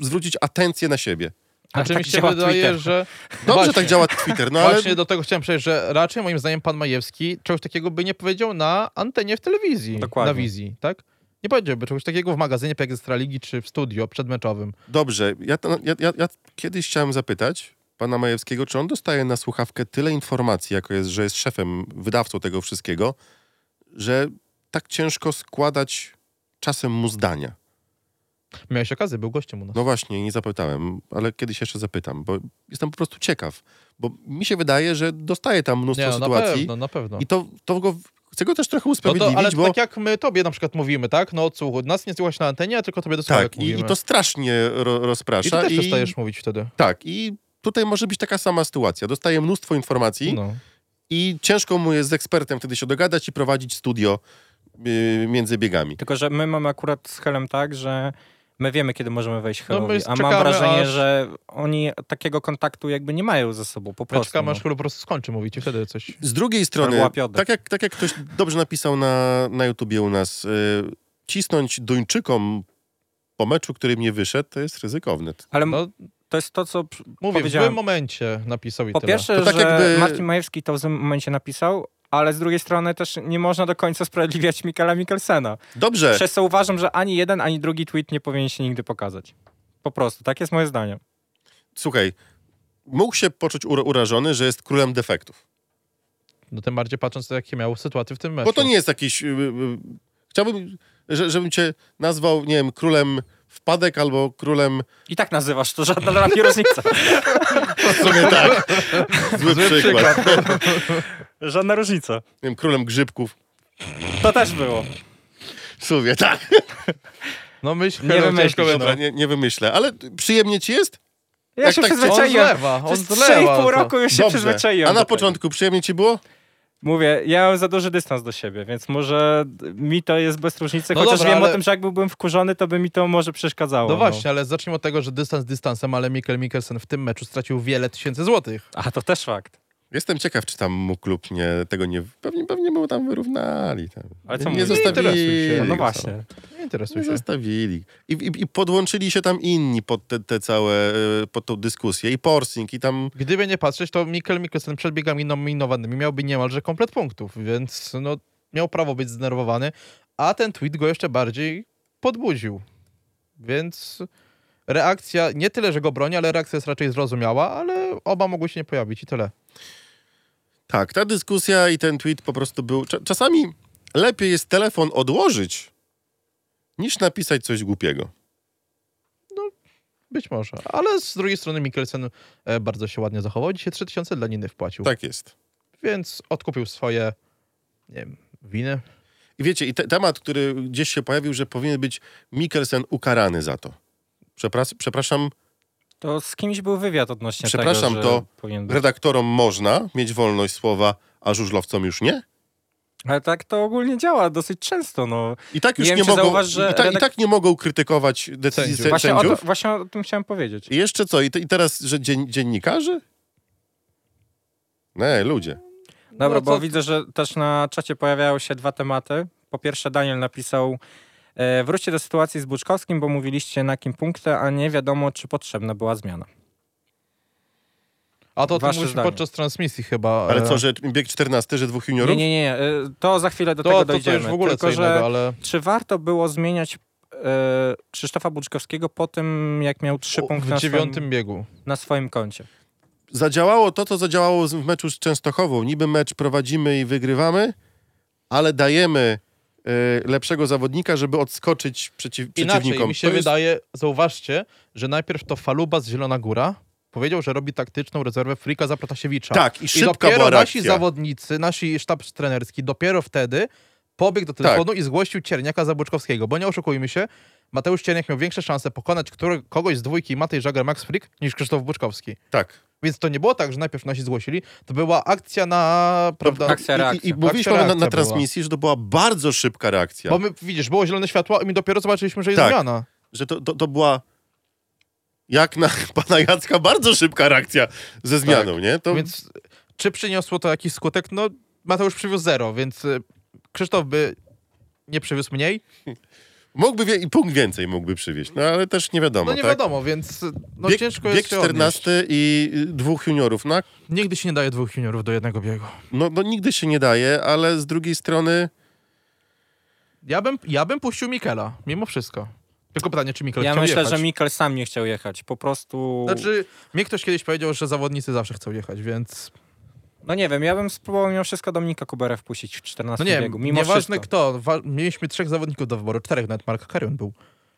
S2: zwrócić atencję na siebie.
S3: Ale
S4: Znaczy
S3: tak
S4: mi się
S3: działa
S4: wydaje,
S3: Twitter.
S4: że...
S2: Dobrze
S4: Właśnie.
S2: tak działa Twitter, no ale
S4: Właśnie do tego chciałem przejść, że raczej moim zdaniem pan Majewski czegoś takiego by nie powiedział na antenie w telewizji.
S3: Dokładnie.
S4: Na wizji, tak? Nie powiedziałby czegoś takiego w magazynie jak Ekstraligi czy w studio przedmeczowym.
S2: dobrze. Ja, to- ja, ja, ja kiedyś chciałem zapytać pana Majewskiego, czy on dostaje na słuchawkę tyle informacji, jako jest, że jest szefem, wydawcą tego wszystkiego, że tak ciężko składać czasem mu zdania.
S4: Miałeś okazję, był gościem u nas.
S2: No właśnie, nie zapytałem, ale kiedyś jeszcze zapytam, bo jestem po prostu ciekaw. Bo mi się wydaje, że dostaję tam mnóstwo
S4: nie, no, na
S2: sytuacji
S4: pewno, na pewno.
S2: i to, to go, chcę go też trochę
S4: No to,
S2: usprawiedliwić,
S4: ale
S2: bo
S4: tak jak my tobie na przykład mówimy, tak? No odsłuchu, nas nie słuchasz na antenie, a tylko tobie do słuchawek
S2: tak, i,
S4: mówimy.
S2: i to strasznie ro,
S4: I ty
S2: rozprasza.
S4: też przestajesz mówić wtedy.
S2: Tak, i Tutaj może być taka sama sytuacja. Dostaje mnóstwo informacji
S4: No.
S2: i ciężko mu jest z ekspertem wtedy się dogadać i prowadzić studio yy, między biegami.
S3: Tylko, że my mamy akurat z Helem tak, że my wiemy, kiedy możemy wejść Helowi,
S4: No, my
S3: a mam
S4: czekamy,
S3: wrażenie,
S4: aż-
S3: że oni takiego kontaktu jakby nie mają ze sobą, po prostu.
S4: Czekamy,
S3: no.
S4: aż chyba po prostu skończy mówić i wtedy coś.
S2: Z drugiej strony,
S3: była piątek.
S2: tak jak, tak jak ktoś dobrze napisał na, na YouTubie u nas, yy, cisnąć Duńczykom po meczu, który im nie wyszedł, to jest ryzykowne.
S3: Ale m-
S4: No,
S3: to jest to, co przy-
S4: mówię, w
S3: powiedziałem.
S4: złym momencie napisał i
S3: po
S4: tyle.
S3: pierwsze,
S2: To tak
S3: że
S2: jakby-
S3: Marcin Majewski to w tym momencie napisał, ale z drugiej strony też nie można do końca sprawiedliwiać Michaela Mikkelsena.
S2: Dobrze,
S3: Przez co uważam, że ani jeden, ani drugi tweet nie powinien się nigdy pokazać. Po prostu, tak jest moje zdanie.
S2: słuchaj, mógł się poczuć ura- urażony, że jest królem defektów.
S4: No tym bardziej patrząc, jakie miał sytuacje w tym meczu.
S2: Bo to nie jest jakiś... Yy, yy, chciałbym, że, żebym cię nazwał, nie wiem, królem wpadek albo królem...
S3: I tak nazywasz to żadna dla mnie różnica.
S2: W sumie tak. Zły, przykład.
S3: Żadna różnica.
S2: Nie wiem, królem grzybków.
S3: To też było.
S2: W sumie tak.
S4: No myśl,
S3: Nie
S4: Hero, ciężko
S3: wymyślisz,
S4: będzie.
S2: Dobra, nie, nie wymyślę. Ale przyjemnie ci jest?
S3: Ja
S2: Jak
S3: się
S2: tak-
S4: On
S3: przyzwyczaiłem.
S4: zlewa, on
S3: Przez
S4: zlewa.
S3: 3,5
S4: to.
S3: roku już Tak się przyzwyczaiłem.
S2: A na
S3: do tego.
S2: początku przyjemnie ci było?
S3: Mówię, ja mam za duży dystans do siebie, więc może d- mi to jest bez różnicy,
S4: No
S3: chociaż
S4: dobra,
S3: wiem o
S4: ale-
S3: tym, że jakby byłem wkurzony, to by mi to może przeszkadzało.
S4: No właśnie, ale zacznijmy od tego, że dystans dystansem, ale Mikkel Mikkelsen w tym meczu stracił wiele tysięcy złotych.
S3: A to też fakt.
S2: Jestem ciekaw, czy tam mu klub nie, tego nie... Pewnie, pewnie mu tam wyrównali. Tam.
S3: Ale co
S2: nie
S3: mówisz?
S2: zostawili.
S4: interesuj się.
S2: go
S3: No właśnie.
S2: tam.
S4: Nie interesuje
S2: Nie
S3: Mhm.
S4: się.
S2: zostawili. I, i, I podłączyli się tam inni pod te, te całe... e, pod tą dyskusję. I Porsing, i tam...
S4: Gdyby nie patrzeć, to Mikkel Mikkelsen przed biegami nominowanymi miałby niemalże komplet punktów, więc no, miał prawo być zdenerwowany, a ten tweet go jeszcze bardziej podbudził. Więc reakcja, nie tyle, że go broni, ale reakcja jest raczej zrozumiała, ale oba mogły się nie pojawić i tyle.
S2: Tak, ta dyskusja i ten tweet po prostu był... Cza, czasami lepiej jest telefon odłożyć, niż napisać coś głupiego.
S4: Być może. Ale z drugiej strony Mikkelsen e, bardzo się ładnie zachował. Dzisiaj 3000 dla Niny wpłacił.
S2: Tak jest.
S4: Więc odkupił swoje, nie wiem, winy.
S2: I wiecie, i te, temat, który gdzieś się pojawił, że powinien być Mikkelsen ukarany za to. Przepras- przepraszam,
S3: To z kimś był wywiad odnośnie
S2: Przepraszam,
S3: tego, że
S2: to
S3: powinien być.
S2: redaktorom można mieć wolność słowa, a żużlowcom już nie?
S3: Ale tak to ogólnie działa dosyć często, no.
S2: I tak
S3: Nie
S2: już nie,
S3: wiem, czy
S2: mogą,
S3: zauważ, że
S2: i, ta, i
S3: redak-
S2: tak nie mogą krytykować decyzji sędziów.
S4: Sędziów.
S3: Właśnie o, to,
S2: sędziów.
S3: właśnie o tym chciałem powiedzieć.
S2: I jeszcze co? I, te, i teraz, że dzien, dziennikarze? Nie, ludzie.
S3: Dobra,
S4: No,
S3: bo
S4: co-
S3: widzę, że też na czacie pojawiają się dwa tematy. Po pierwsze Daniel napisał e, wróćcie do sytuacji z Buczkowskim, bo mówiliście na kim punkcie, a nie wiadomo, czy potrzebna była zmiana.
S4: A to o tym
S3: Wasze
S4: mówiliśmy
S3: zdanie.
S4: podczas transmisji chyba.
S2: Ale
S4: e,
S2: co, że bieg 14, że dwóch
S3: Nie,
S2: juniorów?
S3: nie, nie. e, To za chwilę do
S4: to,
S3: tego
S4: to, to
S3: dojdziemy.
S4: już w ogóle
S3: Tylko,
S4: co
S3: że
S4: innego, ale...
S3: czy warto było zmieniać e, Krzysztofa Buczkowskiego po tym, jak miał trzy punkty na
S4: w dziewiątym
S3: swoim,
S4: biegu.
S3: na swoim koncie?
S2: Zadziałało to, co zadziałało z- w meczu z Częstochową. Niby mecz prowadzimy i wygrywamy, ale dajemy e, lepszego zawodnika, żeby odskoczyć przeciw,
S4: Inaczej
S2: przeciwnikom.
S4: mi się
S2: To jest-
S4: wydaje, zauważcie, że najpierw to Faluba z Zielona Góra powiedział, że robi taktyczną rezerwę Frika za Protasiewicza.
S2: Tak, i szybka
S4: I dopiero
S2: była
S4: nasi
S2: reakcja.
S4: zawodnicy, nasi sztab trenerski dopiero wtedy pobiegł do telefonu
S3: Tak.
S4: i zgłosił Cierniaka za Buczkowskiego, bo nie oszukujmy się, Mateusz Cierniak miał większe szanse pokonać który, kogoś z dwójki Matej Żagar Max Frick niż Krzysztof Buczkowski.
S2: Tak.
S4: Więc to nie było tak, że najpierw nasi zgłosili, to była akcja na... Prawda,
S3: akcja,
S2: I, i
S3: reakcja.
S2: mówiliśmy
S4: Akcja,
S2: na, na
S4: reakcja była.
S2: transmisji, że to była bardzo szybka reakcja.
S4: Bo my, widzisz, było zielone światło i my dopiero zobaczyliśmy, że jest
S2: Tak.
S4: zmiana.
S2: Że to, to, to była jak na pana Jacka bardzo szybka reakcja ze zmianą, nie? To
S4: Tak. Więc czy przyniosło to jakiś skutek? No, Mateusz przywiózł zero, więc y, Krzysztof by nie przywiózł mniej. No
S2: mógłby wie, i punkt więcej mógłby przywieźć, no ale też nie wiadomo,
S4: No nie
S2: tak?
S4: wiadomo, więc y, no,
S2: bieg,
S4: ciężko
S2: bieg
S4: jest się 14.
S2: 14 i y, dwóch juniorów, no,
S4: Nigdy się nie daje dwóch juniorów do jednego biegu.
S2: no, no nigdy się nie daje, ale z drugiej strony
S4: Ja bym, ja bym puścił Mikela, mimo wszystko. Tylko pytanie, czy Mikel
S3: ja
S4: chciał
S3: myślę,
S4: jechać.
S3: że Mikkel sam nie chciał jechać. Po prostu.
S4: Znaczy, mnie ktoś kiedyś powiedział, że zawodnicy zawsze chcą jechać, więc...
S3: No nie wiem, ja bym spróbował mimo wszystko Dominika Kuberę wpuścić w 14
S4: No nie
S3: biegu.
S4: wiem,
S3: Mimo
S4: nieważne
S3: wszystko.
S4: kto. Wa- mieliśmy trzech zawodników do wyboru, czterech, nawet Mark Karion był.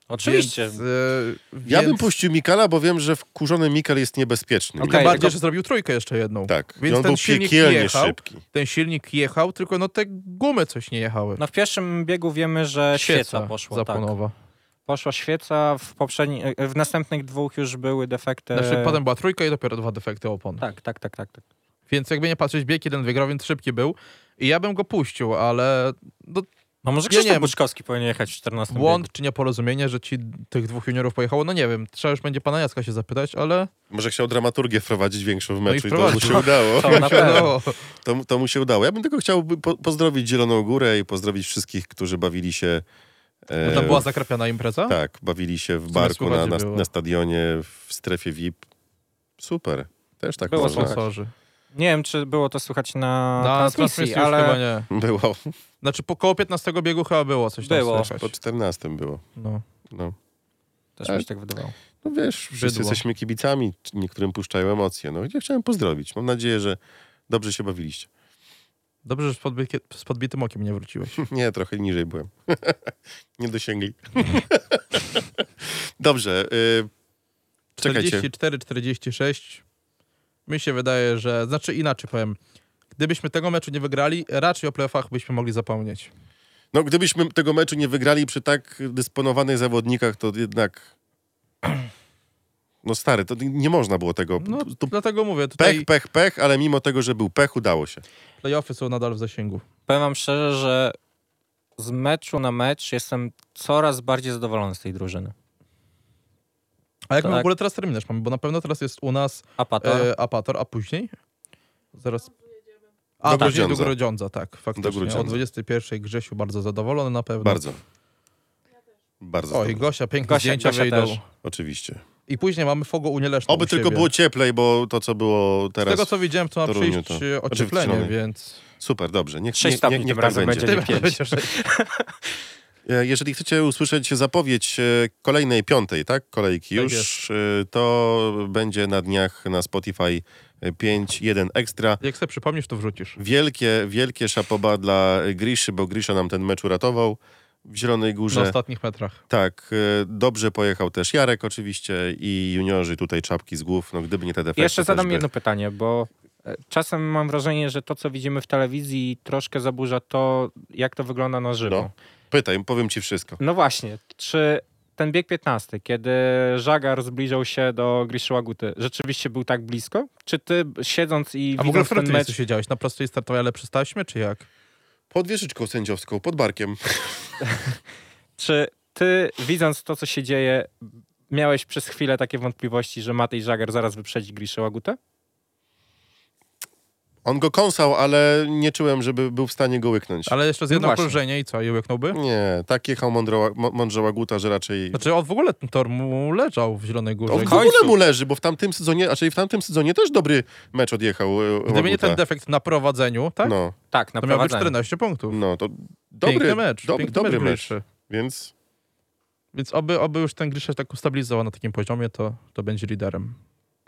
S3: Oczywiście.
S4: Więc, y,
S2: ja
S4: więc-
S2: bym puścił Mikala, bo wiem, że wkurzony Mikal jest niebezpieczny.
S3: Okej.
S4: Tym bardziej,
S3: tylko-
S4: że zrobił trójkę jeszcze jedną.
S2: Tak,
S4: Więc
S2: I on
S4: ten
S2: był
S4: silnik
S2: piekielnie
S4: jechał.
S2: szybki.
S4: ten silnik jechał, tylko no te gumy coś nie jechały.
S3: No w pierwszym biegu wiemy, że świeca, poszła. Tak.
S4: zapłonowa.
S3: Poszła świeca, w, poprzedni, e, w następnych dwóch już były defekty.
S4: Znaczy, potem była trójka i dopiero dwa defekty opon.
S3: E- Tak, tak, tak, tak. tak.
S4: Więc jakby nie patrzeć, bieg jeden wygrał, więc szybki był. I ja bym go puścił, ale no,
S3: A może
S4: Ja nie
S3: Krzysztof
S4: wiem.
S3: Buczkowski powinien jechać w 14
S4: błąd czy nieporozumienie, że ci tych dwóch juniorów pojechało, no nie wiem. Trzeba już będzie pana Jacka się zapytać, ale
S2: Może chciał dramaturgię wprowadzić większą w
S4: No i
S2: meczu i, to mu
S4: wprowadził.
S2: się udało.
S3: To na pewno.
S4: no,
S2: To, to mu się udało. Ja bym tylko chciał po, pozdrowić Zieloną Górę i pozdrowić wszystkich, którzy bawili się... e,
S4: to była zakrapiana impreza?
S2: Tak, bawili się w
S4: sumie
S2: barku na, na,
S4: słychać było.
S2: na stadionie, w strefie VIP. Super. Też tak
S3: Było
S2: można.
S4: Sponsorzy.
S3: Nie wiem, czy było to słychać na,
S4: Na
S3: transmisji,
S4: transmisji już
S3: ale
S4: chyba nie.
S2: Było.
S4: Znaczy, po koło 15 biegu chyba było coś tam
S3: Było.
S4: słychać.
S2: Po 14 było.
S4: No.
S2: No,
S3: też mi się tak wydawało.
S2: no wiesz, wszyscy
S4: Bydło.
S2: jesteśmy kibicami, czy niektórym puszczają emocje. No, ja chciałem pozdrowić. Mam nadzieję, że dobrze się bawiliście.
S4: Dobrze, że z, podbi- z podbitym okiem nie wróciłeś.
S2: Nie, trochę niżej byłem. nie dosięgli. dobrze. y, czekajcie.
S4: 44, 46. Mi się wydaje, że. Znaczy inaczej powiem. Gdybyśmy tego meczu nie wygrali, raczej o playoffach byśmy mogli zapomnieć.
S2: No, gdybyśmy tego meczu nie wygrali przy tak dysponowanych zawodnikach, to jednak... No stary, to nie można było tego...
S4: No,
S2: to
S4: dlatego mówię, tutaj
S2: Pech, pech, pech, ale mimo tego, że był pech, udało się.
S4: playoffy są nadal w zasięgu.
S3: Powiem wam szczerze, że z meczu na mecz jestem coraz bardziej zadowolony z tej drużyny.
S4: A jak my w
S3: Tak.
S4: ogóle teraz terminarz mamy? Bo na pewno teraz jest u nas
S3: Apator.
S2: Tak.
S4: e, Apator, a później? Zaraz. A,
S2: Do
S4: do później do
S2: Grudziądza.
S4: Grudziądza, tak, faktycznie.
S2: Do Grudziądza.
S4: O 21 Grzesiu bardzo zadowolony na pewno.
S2: Bardzo. Bardzo.
S4: O, i
S2: Oj,
S4: Gosia, piękne
S3: Gosia-
S4: zdjęcia
S3: Gosia
S4: wyjdą.
S3: też.
S2: Oczywiście.
S4: I później mamy Fogo Unieleszną
S2: Oby
S4: u
S2: tylko
S4: siebie.
S2: było cieplej, bo to, co było
S4: Z
S2: teraz...
S4: tego co widziałem, to ma
S2: Toruniu,
S4: przyjść
S2: to-
S4: e,
S2: znaczy w
S4: ocieplenie,
S2: Trzonie.
S4: więc...
S2: Super, dobrze. Niech,
S3: Sześć
S2: nie,
S3: stopni
S2: nie,
S3: tym
S2: niech tak
S3: razem
S2: będzie.
S3: będzie. pięć.
S4: będzie sześć.
S2: E, Jeżeli chcecie usłyszeć zapowiedź e, kolejnej, piątej, tak? Kolejki
S4: Tak
S2: już, e, to będzie na dniach na Spotify 5.1 Extra.
S4: Jak sobie przypomnisz, to wrzucisz.
S2: Wielkie, wielkie szapoba dla Griszy, bo Grisza nam ten mecz uratował w Zielonej
S4: Na
S2: Górze.
S4: ostatnich metrach.
S2: Tak, e, dobrze pojechał też Jarek oczywiście i juniorzy tutaj czapki z głów, no gdyby nie te defekty.
S3: Jeszcze
S2: też
S3: zadam
S2: by-
S3: jedno pytanie, bo e, czasem mam wrażenie, że to, co widzimy w telewizji, troszkę zaburza to, jak to wygląda na żywo.
S2: No.
S3: No,
S2: Pytaj, powiem ci wszystko.
S3: właśnie, czy ten bieg 15, kiedy Żagar zbliżał się do Griszy Łaguty, rzeczywiście był tak blisko? Czy ty siedząc i
S4: A w ogóle
S3: widząc
S4: w którym
S3: ten
S4: ty
S3: mecz...
S4: miejscu siedziałeś? Na prostej startowej, ale przez taśmę, czy jak?
S2: Pod wieżyczką sędziowską, pod barkiem.
S3: Czy ty, widząc to, co się dzieje, miałeś przez chwilę takie wątpliwości, że Matej Żagar zaraz wyprzedzi Griszę Łagutę?
S2: On go kąsał, ale nie czułem, żeby był w stanie go łyknąć.
S4: Ale jeszcze z jedno
S3: No właśnie.
S4: krążenie i co, i łyknąłby?
S2: Nie, tak jechał mądro, mo- mądrze łaguta, że raczej...
S4: Znaczy on w ogóle ten tor mu leżał w Zielonej Górze.
S2: On w
S3: końcu.
S2: ogóle mu leży, bo w tamtym sezonie, raczej w tamtym sezonie też dobry mecz odjechał e,
S4: Gdyby nie
S2: Łaguta.
S4: ten defekt na prowadzeniu, tak?
S2: No,
S3: Tak, na
S4: to miałby
S3: prowadzeniu.
S4: 14 punktów.
S2: no, to dobry,
S4: Dobry, piękny mecz,
S2: dobry,
S4: piękny
S2: dobry
S4: mecz,
S2: mecz,
S4: Griszy.
S2: więc
S4: Więc oby, oby już ten Grisza tak ustabilizował na takim poziomie, to, to będzie liderem,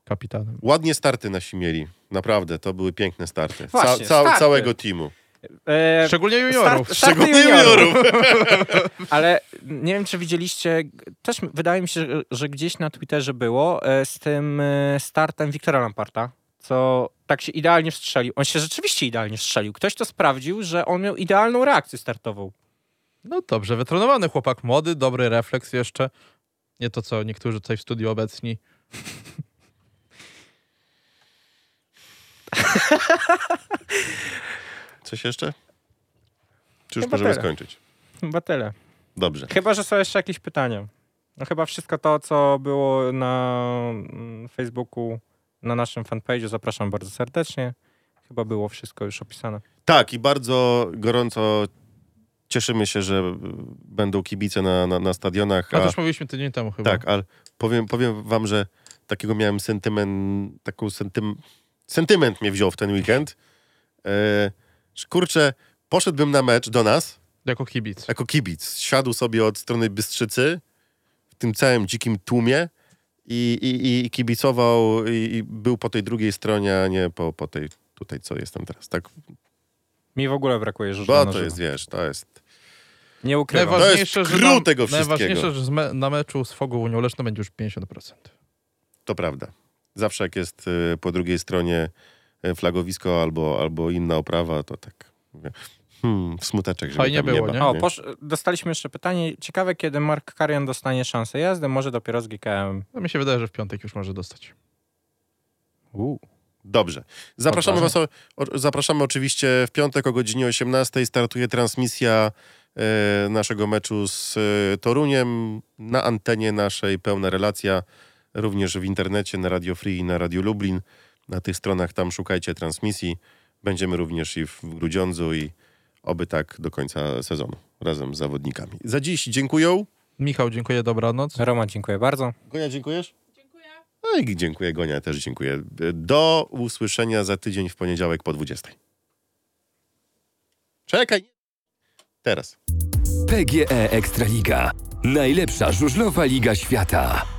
S4: kapitanem.
S2: ładnie starty nasi mieli. Naprawdę, to były piękne starty.
S3: Właśnie, starty.
S2: Całego teamu.
S3: E,
S4: Szczególnie juniorów.
S3: Start, starty
S2: Szczególnie
S3: juniorów. Ale nie wiem, czy widzieliście, g- też m- wydaje mi się, że- że gdzieś na Twitterze było e, z tym e, startem Wiktora Lamparta, co tak się idealnie strzelił. On się rzeczywiście idealnie strzelił. Ktoś to sprawdził, że on miał idealną reakcję startową.
S4: No dobrze, wytrenowany chłopak, młody, dobry refleks jeszcze. Nie to, co niektórzy tutaj w studiu obecni.
S2: Coś jeszcze? Czy już
S3: Chyba
S2: możemy
S3: tyle.
S2: skończyć?
S3: Chyba tyle.
S2: Dobrze.
S3: Chyba, że są jeszcze jakieś pytania. No chyba wszystko to, co było na mm, Facebooku, na naszym fanpage'u, zapraszam bardzo serdecznie. Chyba było wszystko już opisane.
S2: Tak, i bardzo gorąco cieszymy się, że y, będą kibice na, na, na stadionach.
S4: A to
S2: a-
S4: już mówiliśmy tydzień temu chyba.
S2: Tak, ale powiem, powiem wam, że takiego miałem sentyment, taką sentym, sentyment mnie wziął w ten weekend. E, że kurczę, poszedłbym na mecz do nas
S4: Jako kibic.
S2: jako kibic. Siadł sobie od strony Bystrzycy w tym całym dzikim tłumie i, i, i kibicował i, i był po tej drugiej stronie, a nie po, po tej tutaj, co jestem teraz. Tak,
S3: Mi w ogóle brakuje żużla
S2: bo
S3: na
S2: to
S3: żywo.
S2: jest, wiesz, to jest...
S3: Nie ukrywam.
S2: To jest clou tego wszystkiego.
S4: Najważniejsze, że z me, na meczu z Fogu Unią Leszno będzie już 50%.
S2: To prawda. Zawsze jak jest y, po drugiej stronie y, flagowisko albo, albo inna oprawa, to tak... mówię, Hmm, w smuteczek, żeby
S4: Fajnie
S2: tam
S4: było,
S2: nie,
S4: nie?
S2: ba-
S3: O, posz... dostaliśmy jeszcze pytanie. Ciekawe, kiedy Mark Karian dostanie szansę jazdy, może dopiero z GKM.
S4: To No mi się wydaje, że w piątek już może dostać.
S3: Uuu.
S2: Dobrze. Zapraszamy Was, o, o, zapraszamy oczywiście w piątek o godzinie 18 startuje transmisja e, naszego meczu z e, Toruniem na antenie naszej pełna relacja, również w internecie na Radio Free i na Radio Lublin. Na tych stronach tam szukajcie transmisji. Będziemy również i w Grudziądzu i oby tak do końca sezonu razem z zawodnikami. Za dziś dziękuję.
S4: Michał, dziękuję, dobranoc.
S3: Roma, dziękuję bardzo.
S2: Gonia, dziękujesz? Dziękuję. No i dziękuję, Gonia, też dziękuję. Do usłyszenia za tydzień w poniedziałek po 20. Czekaj. Teraz.
S1: E PGE Ekstraliga. Najlepsza żużlowa liga świata.